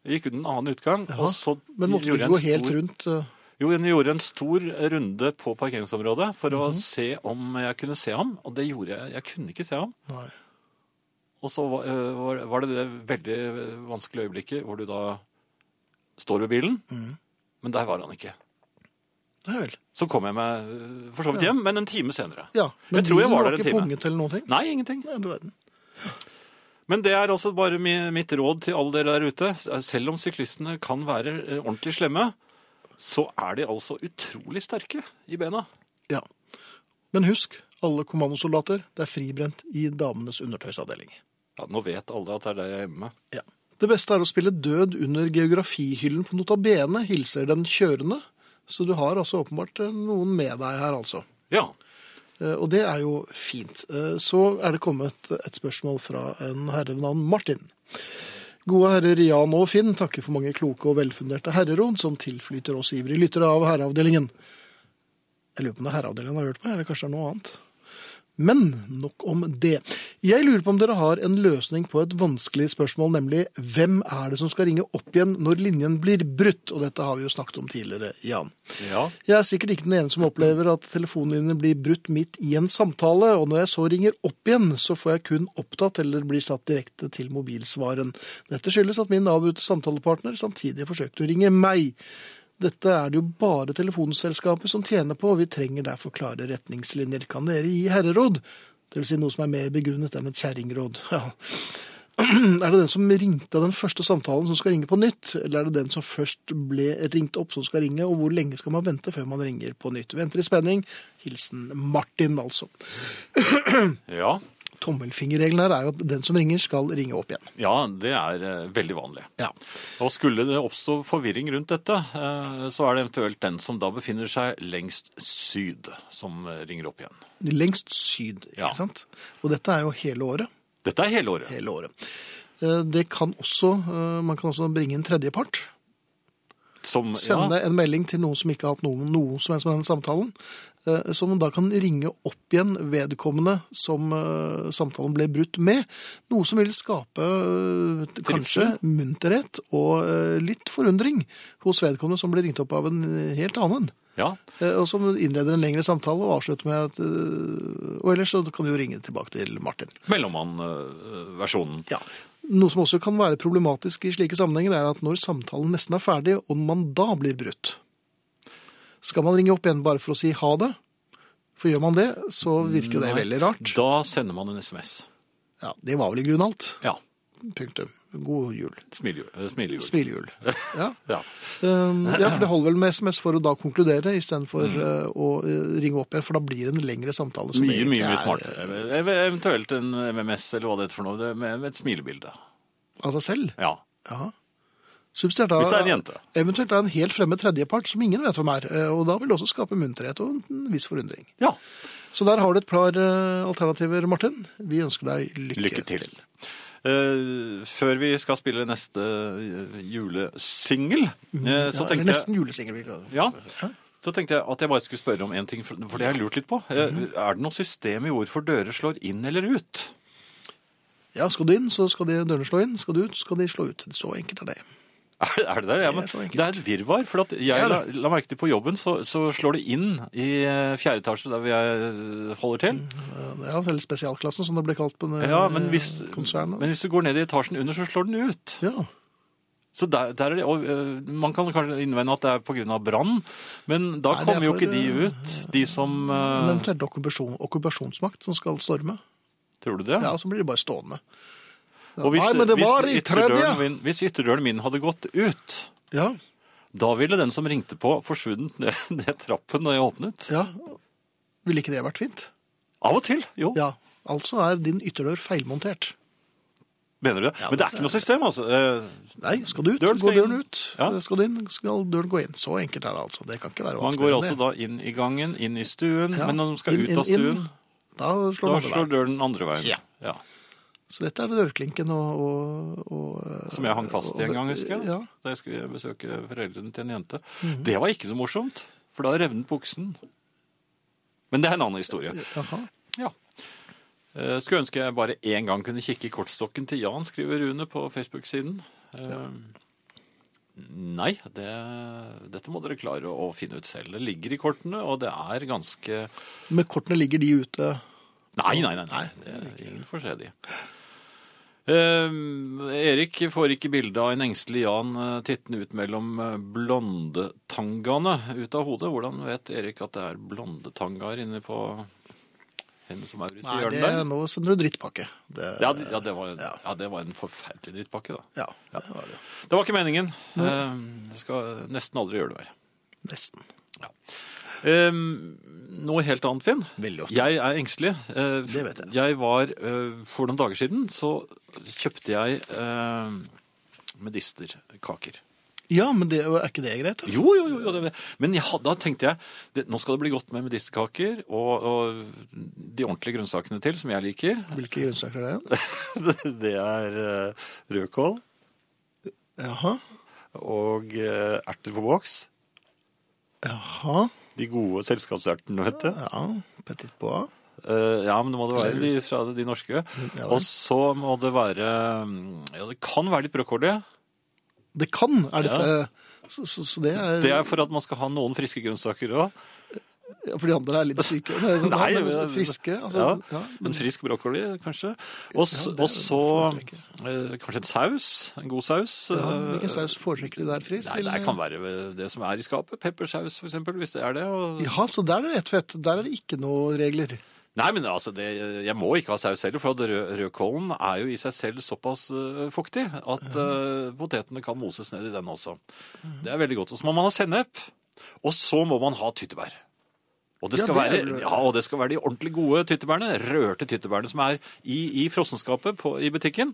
B: Jeg gikk ut en annen utgang,
A: Ja,
B: og så
A: Men måtte du
B: gjorde
A: ikke
B: jeg en
A: gå helt
B: stor,
A: rundt? eh,
B: jo, jeg gjorde en stor runde på parkeringsområdet for å se om jeg kunne se ham, og det gjorde jeg. Jeg kunne ikke se ham.
A: Nei.
B: Og så var, eh, var- var det det veldig vanskelige øyeblikket hvor du da står ved bilen, men der var han ikke.
A: Nei vel.
B: Så kom jeg meg øh, for så vidt hjem, men en time senere.
A: Ja, men
B: jeg tror
A: bilen
B: jeg var der en
A: ikke
B: time.
A: punget eller noen ting?
B: Nei, ingenting.
A: Nei, du verden.
B: Men det er også bare mi- mitt råd til alle dere der ute. Selv om syklistene kan være øh, ordentlig slemme, så er de altså utrolig sterke i bena.
A: Ja. Men husk, alle kommandosoldater, det er fribrent i damenes undertøysavdeling.
B: Ja, nå vet alle at det er det jeg er hjemme med.
A: Ja. Det beste er å spille død under geografihyllen på notabene, hilser den kjørende. Så du har altså åpenbart eh, noen med deg her, altså.
B: Ja,
A: Eh, Og det er jo fint. Eh, Så er det kommet et spørsmål fra en herre ved navn Martin. Gode herrer Jan og Finn takker for mange kloke og velfunderte herreråd som tilflyter oss ivrige lyttere av herreavdelingen. Jeg lurer på om det er herreavdelingen har hørt på, eller kanskje det er noe annet. Men nok om det. Jeg lurer på om dere har en løsning på et vanskelig spørsmål, nemlig hvem er det som skal ringe opp igjen når linjen blir brutt? Og dette har vi jo snakket om tidligere, Jan.
B: ja.
A: Jeg er sikkert ikke den ene som opplever at telefonlinjene blir brutt midt i en samtale, og når jeg så ringer opp igjen, så får jeg kun opptatt eller blir satt direkte til mobilsvaren. Dette skyldes at min avbrutte samtalepartner samtidig forsøkte å ringe meg. Dette er det jo bare telefonselskapet som tjener på, og vi trenger derfor klare retningslinjer. Kan dere gi herreråd? Det vil si noe som er mer begrunnet enn et kjerringråd. Ja. Er det den som ringte av den første samtalen som skal ringe på nytt, eller er det den som først ble ringt opp som skal ringe, og hvor lenge skal man vente før man ringer på nytt? Venter i spenning. Hilsen Martin, altså.
B: ja.
A: Tommelfingerregelen her er jo at den som ringer skal ringe opp igjen.
B: ja det er øh, veldig vanlig.
A: Ja.
B: Og skulle det oppstå forvirring rundt dette, eh, så er det eventuelt den som da befinner seg lengst syd, som eh, ringer opp igjen.
A: Lengst syd, ikke
B: Ja.
A: sant? Og dette er jo hele året.
B: Dette er hele året.
A: Hele året. Eh, Det kan også, eh, man kan også bringe en tredjepart.
B: Som,
A: sende en melding til noen som ikke har hatt noen, noe som helst med den samtalen, eh, som da kan ringe opp igjen vedkommende som eh, samtalen ble brutt med. Noe som vil skape eh, kanskje munterhet og eh, litt forundring hos vedkommende som ble ringt opp av en helt annen.
B: ja, ja,
A: eh, Og som innleder en lengre samtale og avslutter med at eh, Og ellers så kan du jo ringe tilbake til Martin.
B: mellommannversjonen.
A: Ja. Noe som også kan være problematisk i slike sammenhenger, er at når samtalen nesten er ferdig, og man da blir brutt, skal man ringe opp igjen bare for å si ha det? For gjør man det, så virker jo det
B: Nei.
A: veldig rart.
B: Da sender man en SMS.
A: Ja, Det var vel i grunnen alt.
B: Ja.
A: Punktum. God jul.
B: Smilejul. eh, Smilejul.
A: Smilejul. Ja.
B: Ja.
A: Um, ja, for det holder vel med SMS for å da konkludere, istedenfor uh, å uh, ringe opp igjen, for da blir det en lengre samtale. som
B: Mm. Mye,
A: egentlig
B: mye, mye
A: er,
B: smartere. Ev- Eventuelt en MMS eller hva det heter for noe, det- med med et smilebilde.
A: uh, Av seg selv.
B: Ja.
A: Ja. Subsidiært da-
B: Hvis det er en jente.
A: Eventuelt er en helt fremmed tredjepart som ingen vet hvem er. eh, Og da vil det også skape munterhet og en viss forundring.
B: Ja,
A: Så der har du et par eh, alternativer, Martin. Vi ønsker deg lykke,
B: lykke til. Eh, før vi skal spille neste eh, julesingel, eh, så
A: Mm, Ja, eller
B: tenkte jeg
A: nesten julesingel. vil jeg kalle det.
B: Ja, så tenkte jeg at jeg bare skulle spørre om en ting, for for det har jeg lurt litt på. Eh,
A: Mhm.
B: Er det noe system i ord for dører slår inn eller ut?
A: Ja, skal du inn, så skal de dørene slå inn. Skal du ut, skal de slå ut. Så enkelt er det.
B: Er, er det der? Ja, men
A: Det er så
B: det
A: enkelt.
B: er et virvar, for at jeg
A: Ja,
B: la,
A: da.
B: la merke til på jobben, så, så slår det inn i eh, fjerde etasje der hvor jeg holder til.
A: Mm, Eh, Ja, eller spesialklassen, som det ble kalt på det
B: Ja, men hvis,
A: eh, konsernet.
B: men hvis du går ned i etasjen under, så slår den ut.
A: Ja.
B: Så der, der er det, og eh, Man kan kanskje innvende at det er pga. brann, men da
A: Nei, det er
B: kommer jo
A: for,
B: ikke de
A: eh,
B: ut, de som
A: Men
B: eh,
A: eventuelt okkupasjon, okkupasjonsmakt som skal storme.
B: Tror du det?
A: Ja, så blir de bare stående. Ja,
B: Og hvis,
A: Nei, men det
B: hvis
A: var i
B: ytterdøren
A: tredje!
B: min- Hvis ytterdøren min hadde gått ut
A: Ja,
B: Da ville den som ringte på, forsvunnet ned, ned trappen når jeg åpnet.
A: ja. Ville ikke det vært fint?
B: Av og til, jo.
A: Ja. Altså er din ytterdør feilmontert.
B: Mener du det? Men det er ikke noe system, altså. Eh,
A: Nei, skal du ut,
B: Døren skal
A: går døren
B: inn.
A: ut.
B: Ja.
A: Skal du inn, skal døren gå inn. Så enkelt er det altså. Det kan ikke være
B: Man
A: vanskelig.
B: går altså da inn i gangen, inn i stuen, men når man skal ut av stuen,
A: Da slår
B: da
A: man
B: slår
A: døren.
B: døren andre veien.
A: Ja. Så dette er dørklinken og, og, og
B: Som jeg hang fast i en gang, husker jeg.
A: Ja.
B: Da jeg skulle besøke foreldrene til en jente. Det var ikke så morsomt, for da revnet buksen. Men det er en annen historie.
A: Jaha.
B: Ja. Eh, Skulle ønske jeg bare én gang kunne kikke i kortstokken til Jan, skriver Rune på Facebook-siden. Eh, Nei, det, dette må dere klare å finne ut selv. Det ligger i kortene, og det er ganske
A: Med kortene ligger de ute.
B: Nei, nei, nei. nei. Det er ingen får se de. Eh, Erik får ikke bilde av en engstelig Jan eh, tittende ut mellom eh, blondetangaene ut av hodet. Hvordan vet Erik at det er blondetangaer inne på henne som er i
A: Nei,
B: hjørnet
A: det,
B: der?
A: nå sender du drittpakke. Det,
B: Ja, det- ja, det var, ja.
A: Ja.
B: det var en forferdelig drittpakke, da.
A: ja,
B: Ja.
A: det var det.
B: Det var ikke meningen. Eh, Jeg skal nesten aldri gjøre det mer.
A: Nesten.
B: Eh, Noe helt annet, Finn.
A: Veldig ofte.
B: Jeg er engstelig. Eh,
A: Det vet jeg.
B: Jeg var, eh, for noen dager siden, så kjøpte jeg eh, medisterkaker.
A: Ja, men det, er ikke det greit? da?
B: Jo, jo, jo. jo det, men jeg, hadde- da tenkte jeg det, nå skal det bli godt med medisterkaker og, og de ordentlige grønnsakene til, som jeg liker.
A: Hvilke grønnsaker er det igjen?
B: Det er eh, rødkål
A: Jaha.
B: og eh, erter på boks.
A: Jaha.
B: De gode selskapsertene, vet du.
A: Ja, petit pois.
B: Eh, ja, men det må det være de fra de norske.
A: vel.
B: Og så må det være mm, Ja, det kan være litt brokkoli.
A: Det kan, er dette
B: Ja.
A: så, så, så det er,
B: Det er for at man skal ha noen friske grønnsaker òg.
A: ja, For de andre er litt syke. Det er sånn, ja, men friske. Altså, ja.
B: ja, en frisk brokkoli, kanskje. Og s-
A: det
B: og så
A: foretrekker
B: eh, kanskje en saus. En god saus. eh,
A: Hvilken saus foretrekker de der frisk?
B: Nei, det kan være det som er i skapet. Peppersaus, for eksempel, hvis det er det. Og...
A: Ja, så der er det ett fett. Der er det ikke noen regler.
B: Nei, men altså, det, jeg må ikke ha saus heller, for at rød, rødkålen er jo i seg selv såpass eh, fuktig at eh, potetene kan moses ned i den også. Det er veldig godt. Og så må man ha sennep, og så må man ha tyttebær. Og det,
A: Ja,
B: skal
A: det er
B: være,
A: vel-
B: ja, og det skal være de ordentlig gode tyttebærene, rørte tyttebærene som er i, i frossenskapet på, i butikken.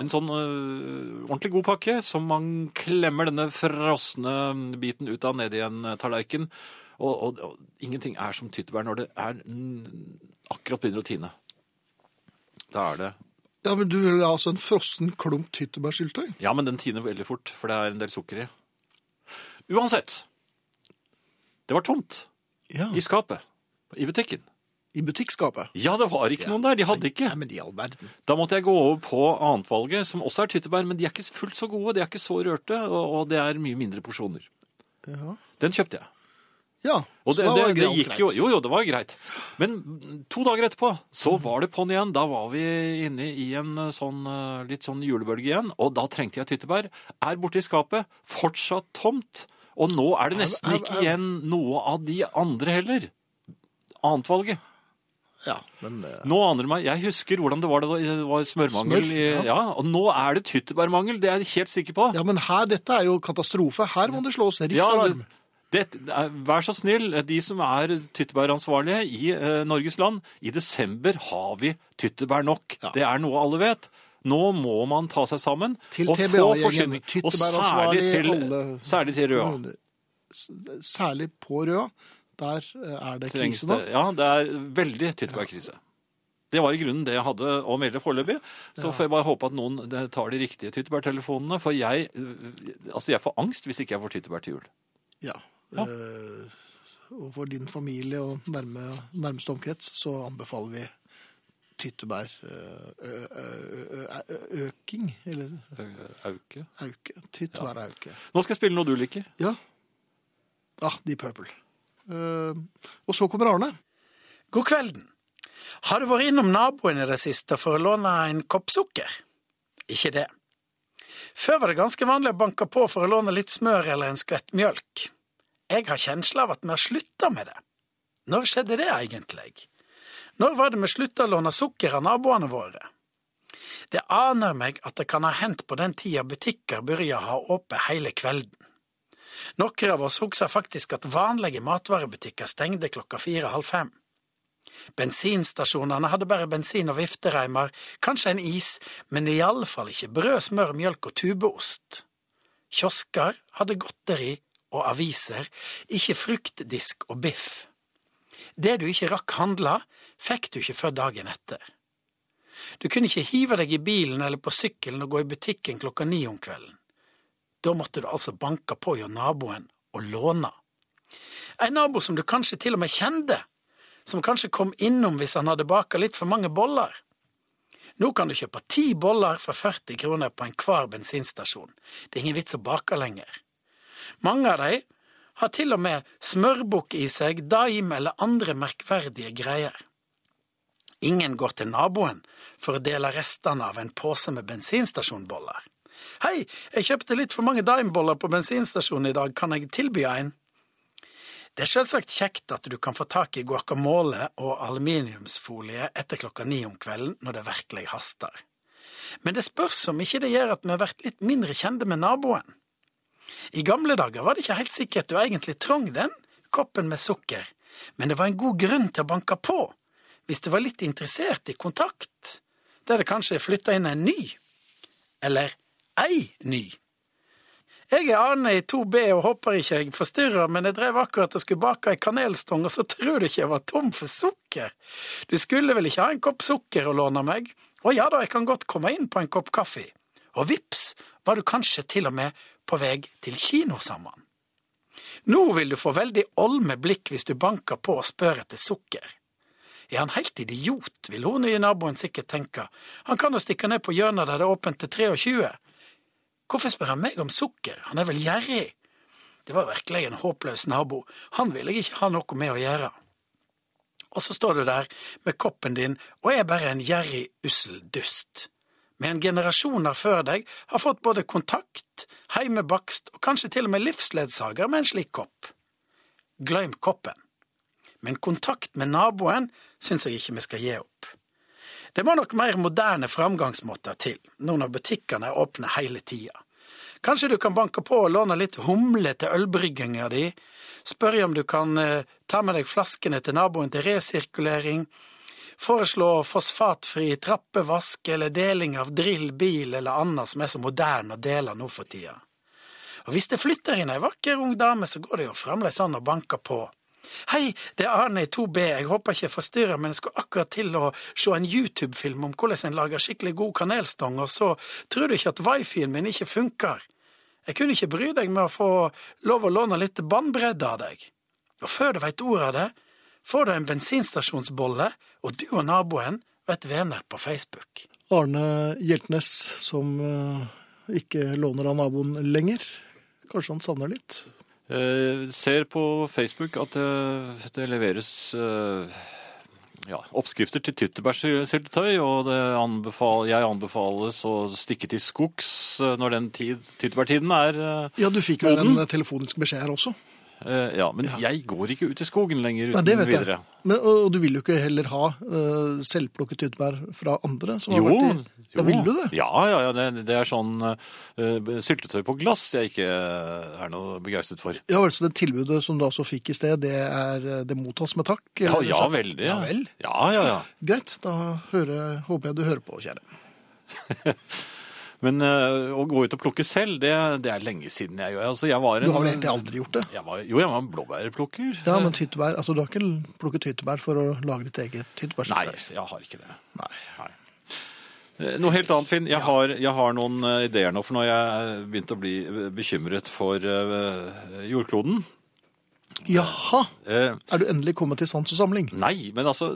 B: En sånn eh, ordentlig god pakke som man klemmer denne frosne biten ut av nedi en øh, tallerken. Og, og, og ingenting er som tyttebær når det er mm, akkurat begynner å tine. Da er det
A: Ja, men Du vil ha altså en frossen klump tyttebærsyltetøy?
B: Ja, men den tiner veldig fort, for det er en del sukker i. Uansett. Det var tomt
A: Ja.
B: i skapet. I butikken.
A: I butikkskapet?
B: Ja, det var ikke noen der. De hadde ikke.
A: Nei, men i all verden.
B: Da måtte jeg gå over på annetvalget, som også er tyttebær, men de er ikke fullt så gode, de er ikke så rørte, og, og det er mye mindre porsjoner.
A: Ja.
B: Den kjøpte jeg.
A: ja.
B: Og
A: så
B: det,
A: da
B: det,
A: var
B: det
A: alt
B: gikk
A: greit.
B: jo, jo, jo, det var greit. Men to dager etterpå, så var det på'n igjen. Da var vi inne i en eh, sånn, eh, litt sånn julebølge igjen, og da trengte jeg tyttebær. Er borte i skapet, fortsatt tomt, og nå er det nesten
A: au,
B: ikke
A: au.
B: igjen noe av de andre heller. Annetvalget.
A: Ja, men eh,
B: Nå aner det meg. Jeg husker hvordan det var da det var smørmangel.
A: Smør,
B: i-
A: ja.
B: ja, og nå er det tyttebærmangel, det er jeg helt sikker på.
A: Ja, men her, dette er jo katastrofe. Her må det slås riksalarm.
B: det, det, er- vær så snill, de som er tyttebæransvarlige i eh, Norges land, i desember har vi tyttebær nok.
A: Ja.
B: Det er noe alle vet. Nå må man ta seg sammen
A: Til
B: og få
A: TBA-gjengen,
B: forsyning. Og særlig
A: tyttebæransvarlig,
B: til,
A: alle-
B: særlig til Røa.
A: S- Særlig på Røa. Der eh, er det
B: Trengs
A: krise nå.
B: det. Ja, det er veldig tyttebærkrise. Det var i grunnen det jeg hadde å melde foreløpig. Så får jeg bare håpe at noen eh, tar de riktige tyttebærtelefonene. For jeg, eh, altså jeg får angst hvis ikke jeg får tyttebær til jul.
A: Ja.
B: Ja.
A: Eh, og for din familie og nærme, nærmeste omkrets så anbefaler vi eh, tyttebærøking, eller
B: Auke.
A: Eh, auke. Tyttebærauke.
B: Nå skal jeg spille noe du liker.
A: Ja. Ja, De Purple. Eh, og så kommer Arne.
D: God kvelden. Har du vært innom naboen i det siste for å låne en kopp sukker? Ikke det. Før var det ganske vanlig å banke på for å låne litt smør eller en skvett mjølk. Jeg har kjensla av at vi har slutta med det. Når skjedde det egentlig? Når var det vi slutta å låne sukker av naboene våre? Det aner meg at det kan ha hendt på den tida butikker begynte å ha åpent hele kvelden. Noen av oss husker faktisk at vanlige matvarebutikker stengte klokka fire-halv fem. Bensinstasjonene hadde bare bensin og viftereimer, kanskje en is, men iallfall ikke brød, smør, mjølk og tubeost. Kiosker hadde godteri og aviser, ikke fruktdisk og biff. Det du ikke rakk handla, fikk du ikke før dagen etter. Du kunne ikke hive deg i bilen eller på sykkelen og gå i butikken klokka ni om kvelden. Da måtte du altså banke på hjå naboen og låne. En nabo som du kanskje til og med kjende, som kanskje kom innom hvis han hadde baka litt for mange boller. Nå kan du kjøpe ti boller for 40 kroner på enhver bensinstasjon. Det er ingen vits å bake lenger. Mange av de har til og med smørbukk i seg, daim eller andre merkverdige greier. Ingen går til naboen for å dele restene av en pose med bensinstasjonboller. Hei, jeg kjøpte litt for mange daimboller på bensinstasjonen i dag, kan jeg tilby en? Det er selvsagt kjekt at du kan få tak i guacamole og aluminiumsfolie etter klokka ni om kvelden når det virkelig haster. Men det spørs om ikke det gjør at vi har vært litt mindre kjente med naboen. I gamle dager var det ikke helt sikkert du egentlig trong den koppen med sukker, men det var en god grunn til å banke på, hvis du var litt interessert i kontakt, der det kanskje er flytta inn en ny, eller ei ny. Jeg er Arne i 2B og håper ikke jeg forstyrrer, men jeg drev akkurat og skulle bake ei kanelstong, og så tror du ikke jeg var tom for sukker. Du skulle vel ikke ha en kopp sukker å låne meg? Å ja da, jeg kan godt komme inn på en kopp kaffe. Og vips, var du kanskje til og med på vei til kino sammen. Nå vil du få veldig olme blikk hvis du banker på og spør etter sukker. Er han helt idiot, vil hun nye naboen sikkert tenke. Han kan jo stikke ned på hjørnet der det er åpent til 23. Hvorfor spør han meg om sukker, han er vel gjerrig? Det var virkelig en håpløs nabo, han ville jeg ikke ha noe med å gjøre. Og så står du der med koppen din og er bare en gjerrig, ussel dust. Med en generasjoner før deg har fått både kontakt, heimebakst og kanskje til og med livsledsager med en slik kopp. Glem koppen. Men kontakt med naboen syns jeg ikke vi skal gi opp. Det må nok mer moderne framgangsmåter til, nå når butikkene er åpne hele tida. Kanskje du kan banke på og låne litt humle til ølbrygginga di, spørre om du kan eh, ta med deg flaskene til naboen til resirkulering, foreslå fosfatfri trappevask eller deling av drill, bil eller annet som er så moderne å dele nå for tida. Og hvis det flytter inn ei vakker ung dame, så går det jo fremdeles an å banke på. Hei, det er Arne i 2B, jeg håper ikke jeg forstyrrer, men jeg skulle akkurat til å se en YouTube-film om hvordan en lager skikkelig god kanelstong, og så tror du ikke at wifien min ikke funker. Jeg kunne ikke bry deg med å få lov å låne litt båndbredde av deg. Og før du veit ordet av det, får du en bensinstasjonsbolle, og du og naboen vet venner på Facebook.
A: Arne Hjeltnes som eh, ikke låner av naboen lenger. Kanskje han savner litt.
B: Eh, ser på Facebook at eh, det leveres eh, ja, oppskrifter til tyttebærsyltetøy, og det anbefal, jeg anbefales å stikke til skogs eh, når den tid, tyttebærtiden er. eh,
A: Ja, du fikk vel en telefonisk beskjed her også.
B: eh, ja, men jeg går ikke ut i skogen lenger
A: Nei,
B: uten
A: det vet jeg.
B: videre.
A: Men, og, og du vil jo ikke heller ha eh, selvplukket tyttebær fra andre? Som har
B: Jo,
A: vært i,
B: jo.
A: Da vil du det?
B: Ja, ja, ja det, det er sånn eh, syltetøy på glass jeg ikke eh, er noe begeistret for.
A: Ja, altså Det tilbudet som du altså fikk i sted, det, er, eh, det mottas med takk?
B: Ja,
A: eller
B: ja
A: sagt?
B: veldig.
A: Ja vel.
B: Ja, ja, ja.
A: Greit, da hører, håper jeg du hører på, kjære.
B: Men eh, å gå ut og plukke selv, det, det er lenge siden jeg gjør. Altså, jeg var en,
A: Du har vel egentlig aldri gjort det?
B: Jeg var, jo, jeg var en blåbærplukker.
A: Ja, men tyttebær, altså du har ikke plukket tyttebær for å lage ditt eget
B: Nei,
A: tyttebærsyltetøy?
B: jeg har ikke det.
A: Nei.
B: Nei. Eh, Noe helt annet, Finn. Jeg har, jeg har noen eh, ideer nå, for nå har jeg begynt å bli eh, bekymret for eh, jordkloden.
A: Jaha,
B: Eh,
A: er du endelig kommet til sans og samling?
B: Nei, men altså,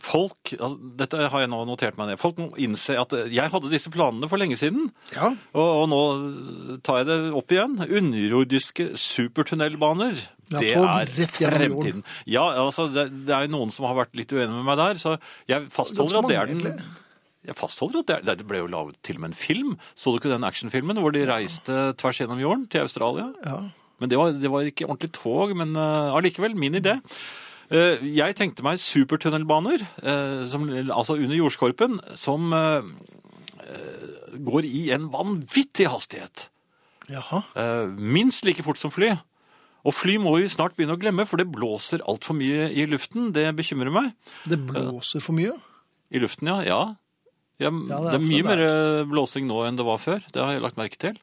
B: folk altså, Dette har jeg nå notert meg ned. Folk må innse at eh, jeg hadde disse planene for lenge siden.
A: Ja.
B: Og, og nå eh, tar jeg det opp igjen. Underjordiske supertunnelbaner.
A: Ja,
B: det
A: tog
B: er
A: rett gjennom jorden.
B: fremtiden. Ja, altså, det, det er jo noen som har vært litt uenige med meg der, så jeg fastholder
A: Ganske
B: at det er
A: mange,
B: den
A: egentlig.
B: jeg fastholder at det, er- Nei, det ble jo laget til og med en film. Så du ikke den actionfilmen hvor de reiste tvers gjennom jorden til Australia?
A: Ja.
B: Men det var, det var ikke ordentlig tog, men eh, allikevel, min idé. Eh, jeg tenkte meg supertunnelbaner, eh, som, altså under jordskorpen, som eh, eh, går i en vanvittig hastighet.
A: Jaha.
B: Eh, minst like fort som fly. Og fly må vi snart begynne å glemme, for det blåser altfor mye i luften. Det bekymrer meg.
A: Det blåser for mye.
B: I luften, ja. Ja, ja, det,
A: er
B: er
A: for
B: mye
A: det
B: mer eh, blåsing nå enn det var før. Det har jeg lagt merke til.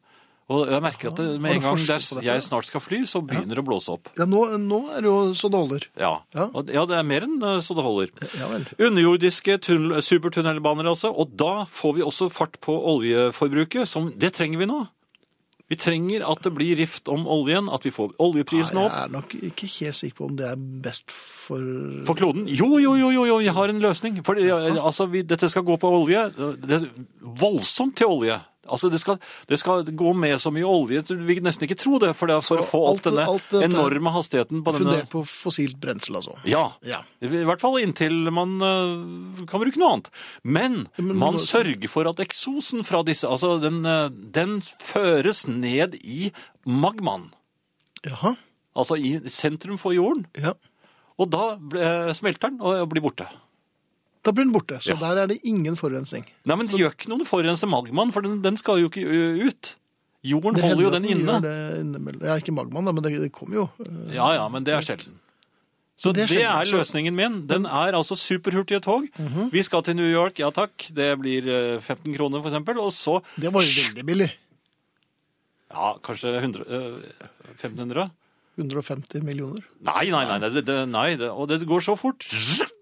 B: Og jeg merker at det,
A: Har
B: med
A: du
B: en gang
A: forsket på
B: det er,
A: dette?
B: jeg snart skal fly, så begynner det å blåse opp.
A: Ja, nå, nå er det jo så det holder.
B: Ja.
A: Ja.
B: Og- ja, det er mer enn eh, så det holder.
A: Ja vel.
B: Underjordiske tunnel, supertunnelbaner altså, og da får vi også fart på oljeforbruket. Som, det trenger vi nå. Vi trenger at det blir rift om oljen, at vi får oljeprisen
A: Nei,
B: opp.
A: Jeg er nok ikke helt sikker på om det er best for
B: For kloden? Jo, jo, jo, jo, jo, jeg har en løsning. For eh, altså, vi, dette skal gå på olje. Det er voldsomt til olje. Altså, det skal, det skal gå med så mye olje, du vil nesten ikke tro det, for, det er for
A: Så
B: å få opp
A: alt-
B: denne
A: alt dette-
B: enorme hastigheten på denne
A: Fundert på fossilt brensel, altså.
B: Ja.
A: Ja.
B: I hvert fall inntil man øh, kan bruke noe annet. Men
A: men-
B: man sørger for at eksosen fra disse Altså, den, øh, den føres ned i magmaen.
A: Jaha.
B: Altså i sentrum for jorden.
A: Ja.
B: Og da ble- smelter den og blir borte.
A: Da blir den borte, så
B: Ja.
A: der er det ingen forurensning.
B: Nei, men det gjør ikke noe å forurense magmaen, for den, den skal jo ikke ø, ut. Jorden
A: Det
B: holder jo
A: hender at
B: den
A: gjør
B: inne.
A: Det innimellom. ja, ikke magmaen, da, men det, det kommer jo. eh,
B: Ja, ja, men det er sjelden. Så
A: Det er
B: det er,
A: sjelden, altså. så-
B: løsningen min. Den er altså superhurtige tog.
A: Mhm.
B: Vi skal til New York, ja takk. Det blir eh, 15 kroner, for eksempel. Og så
A: Det var jo veldig billig.
B: Ja, kanskje 100, øh, 1500?
A: 150 millioner.
B: Nei, nei, nei. Det, det, nei det, og det går så fort.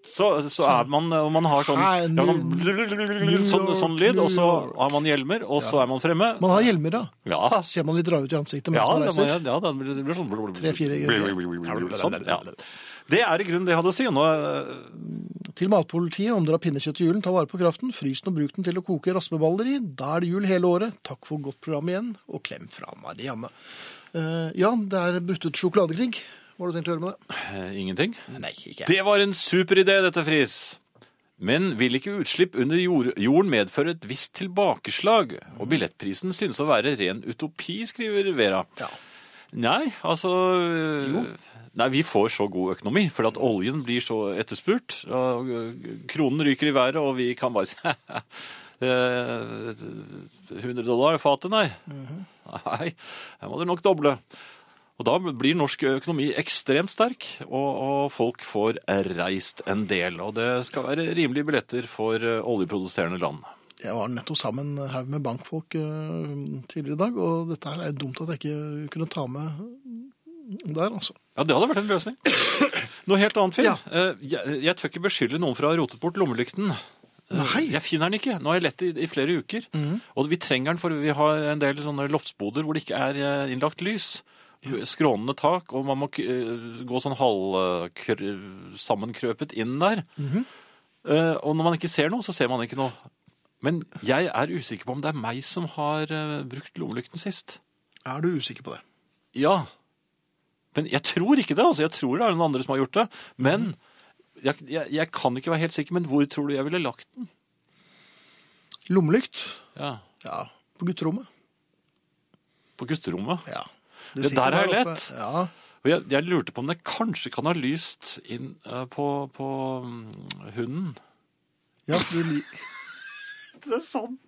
B: Så, så er man Og man har sånn,
A: Nei,
B: ja, sånn, sånn, sånn lyd, og så
A: New York.
B: har man hjelmer, og så er man fremme.
A: Man har hjelmer, da.
B: Ja,
A: Ser man litt rar ut i ansiktet
B: ja,
A: mens man
B: det,
A: reiser.
B: må jeg- ja, det blir det blir sånn
A: Tre-fire
B: Blablabla. sånn, ja. Det er i grunnen det jeg hadde å si. Nå, øh,
A: Til matpolitiet omdra pinnekjøtt til julen, ta vare på kraften, frys den og bruk den til å koke raspeballer i. Da er det jul hele året. Takk for godt program igjen, og klem fra Marianne. Eh, Jan, det er brutt ut sjokoladekrig. Hva har du tenkt å gjøre med det?
B: eh, ingenting.
A: Nei, ikke
B: Det var en superidé, dette, Friis. Men vil ikke utslipp under jord, jorden medføre et visst tilbakeslag? Og billettprisen synes å være ren utopi, skriver Vera.
A: Ja.
B: Nei, altså Nei, vi får så god økonomi, for at oljen blir så etterspurt. og eh, Kronen ryker i været, og vi kan bare si eh, 100 dollar fatet, nei. Nei, her må du nok doble. Og da blir norsk økonomi ekstremt sterk, og, og folk får reist en del. Og det skal være rimelige billetter for eh, oljeproduserende land.
A: Jeg var nettopp sammen en haug med bankfolk eh, tidligere i dag, og dette her er jo dumt at jeg ikke kunne ta med der, altså.
B: Ja, det hadde vært en løsning. Noe helt annet, Finn.
A: Ja.
B: Eh, Jeg, jeg tør ikke beskylde noen for å ha rotet bort lommelykten. Eh,
A: Nei. Mhm.
B: Jeg finner den ikke. Nå har jeg lett i, i flere uker. Og vi trenger den, for vi har en del sånne loftsboder hvor det ikke er eh, innlagt lys. Skrånende tak, og man må k- eh, gå sånn halvsammenkrøpet inn der.
A: Mhm.
B: Eh, Og når man ikke ser noe, så ser man ikke noe. Men jeg er usikker på om det er meg som har eh, brukt lommelykten sist.
A: Er du usikker på det?
B: Ja. Men jeg tror ikke det, altså. Jeg tror det er noen andre som har gjort det. Men jeg, jeg, jeg kan ikke være helt sikker, men hvor tror du jeg ville lagt den?
A: Lommelykt?
B: Ja,
A: Ja. På gutterommet?
B: På gutterommet.
A: Ja. Du
B: Det
A: sitter
B: der er
A: oppe.
B: lett.
A: Ja.
B: Og jeg, jeg lurte på om det kanskje kan ha lyst inn eh, på, på mm, hunden.
A: ja for du li-
B: Det er sant.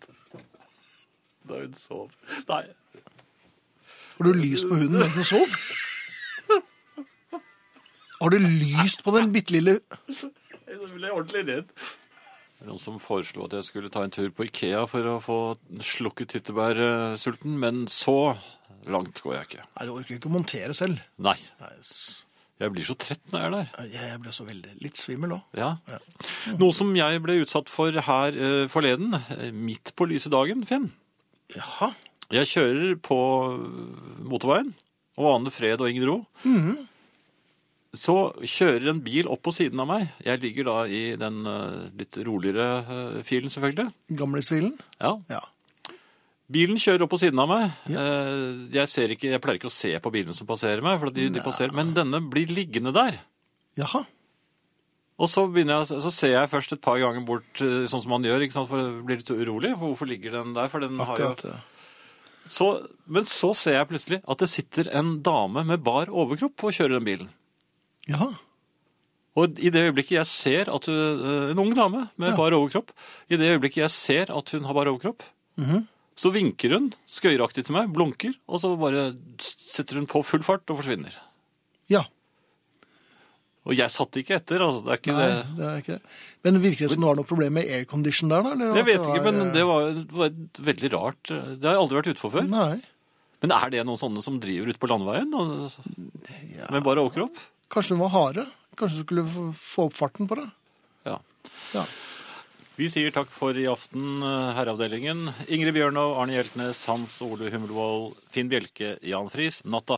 B: Da hun sov. Nei.
A: Har du lyst på hunden mens den sov? Har du lyst på den bitte lille
B: Da ble jeg ordentlig redd. Det er Noen som foreslo at jeg skulle ta en tur på Ikea for å få slukket hyttebærsulten, men så langt går jeg ikke.
A: Nei, du orker jo ikke å montere selv.
B: Nei,
A: Nei, s-
B: jeg blir så trett når jeg er der.
A: jeg ble så veldig litt svimmel òg.
B: Ja. Noe som jeg ble utsatt for her eh, forleden, eh, midt på lyse dagen, Finn.
A: Jaha.
B: Jeg kjører på eh, motorveien, og aner fred og ingen ro. Så kjører en bil opp på siden av meg. Jeg ligger da i den eh, litt roligere eh, filen, selvfølgelig.
A: Gamlesvilen?
B: Ja.
A: Ja.
B: Bilen kjører opp på siden av meg. Eh, Jeg, ser ikke, jeg pleier ikke å se på bilene som passerer meg, for de, de passerer, men denne blir liggende der.
A: Jaha.
B: Og så, begynner jeg, så ser jeg først et par ganger bort, eh, sånn som man gjør, ikke sant? for jeg blir litt urolig. for Hvorfor ligger den der? For den har eh, jo...
A: Akkurat. ja.
B: så, men så ser jeg plutselig at det sitter en dame med bar overkropp og kjører den bilen.
A: Jaha.
B: Og i det øyeblikket jeg ser at hun, en ung dame med bar overkropp, i det øyeblikket jeg ser at hun har bar overkropp,
A: Mhm.
B: så vinker hun skøyeraktig til meg, blunker, og så bare setter hun på full fart og forsvinner.
A: Ja.
B: Og jeg satt ikke etter, altså. Det er ikke
A: Nei,
B: det.
A: det er ikke det. Men virker det som det var noe problem med aircondition der, da? eller
B: Jeg
A: at
B: vet ikke, men
A: eh,
B: det var, det var et veldig rart. eh, Det har jeg aldri vært ute for før.
A: Nei.
B: Men er det noen sånne som driver ute på landeveien og, med bare overkropp?
A: Kanskje den var harde? Kanskje du skulle få- få opp farten på det?
B: Ja.
A: Ja.
B: Vi sier takk for i aften, eh, Herreavdelingen. Ingrid Bjørnov, Arne Hjeltnes, Hans Ole Hummelvold, Finn Bjelke, Jan Friis. Natta.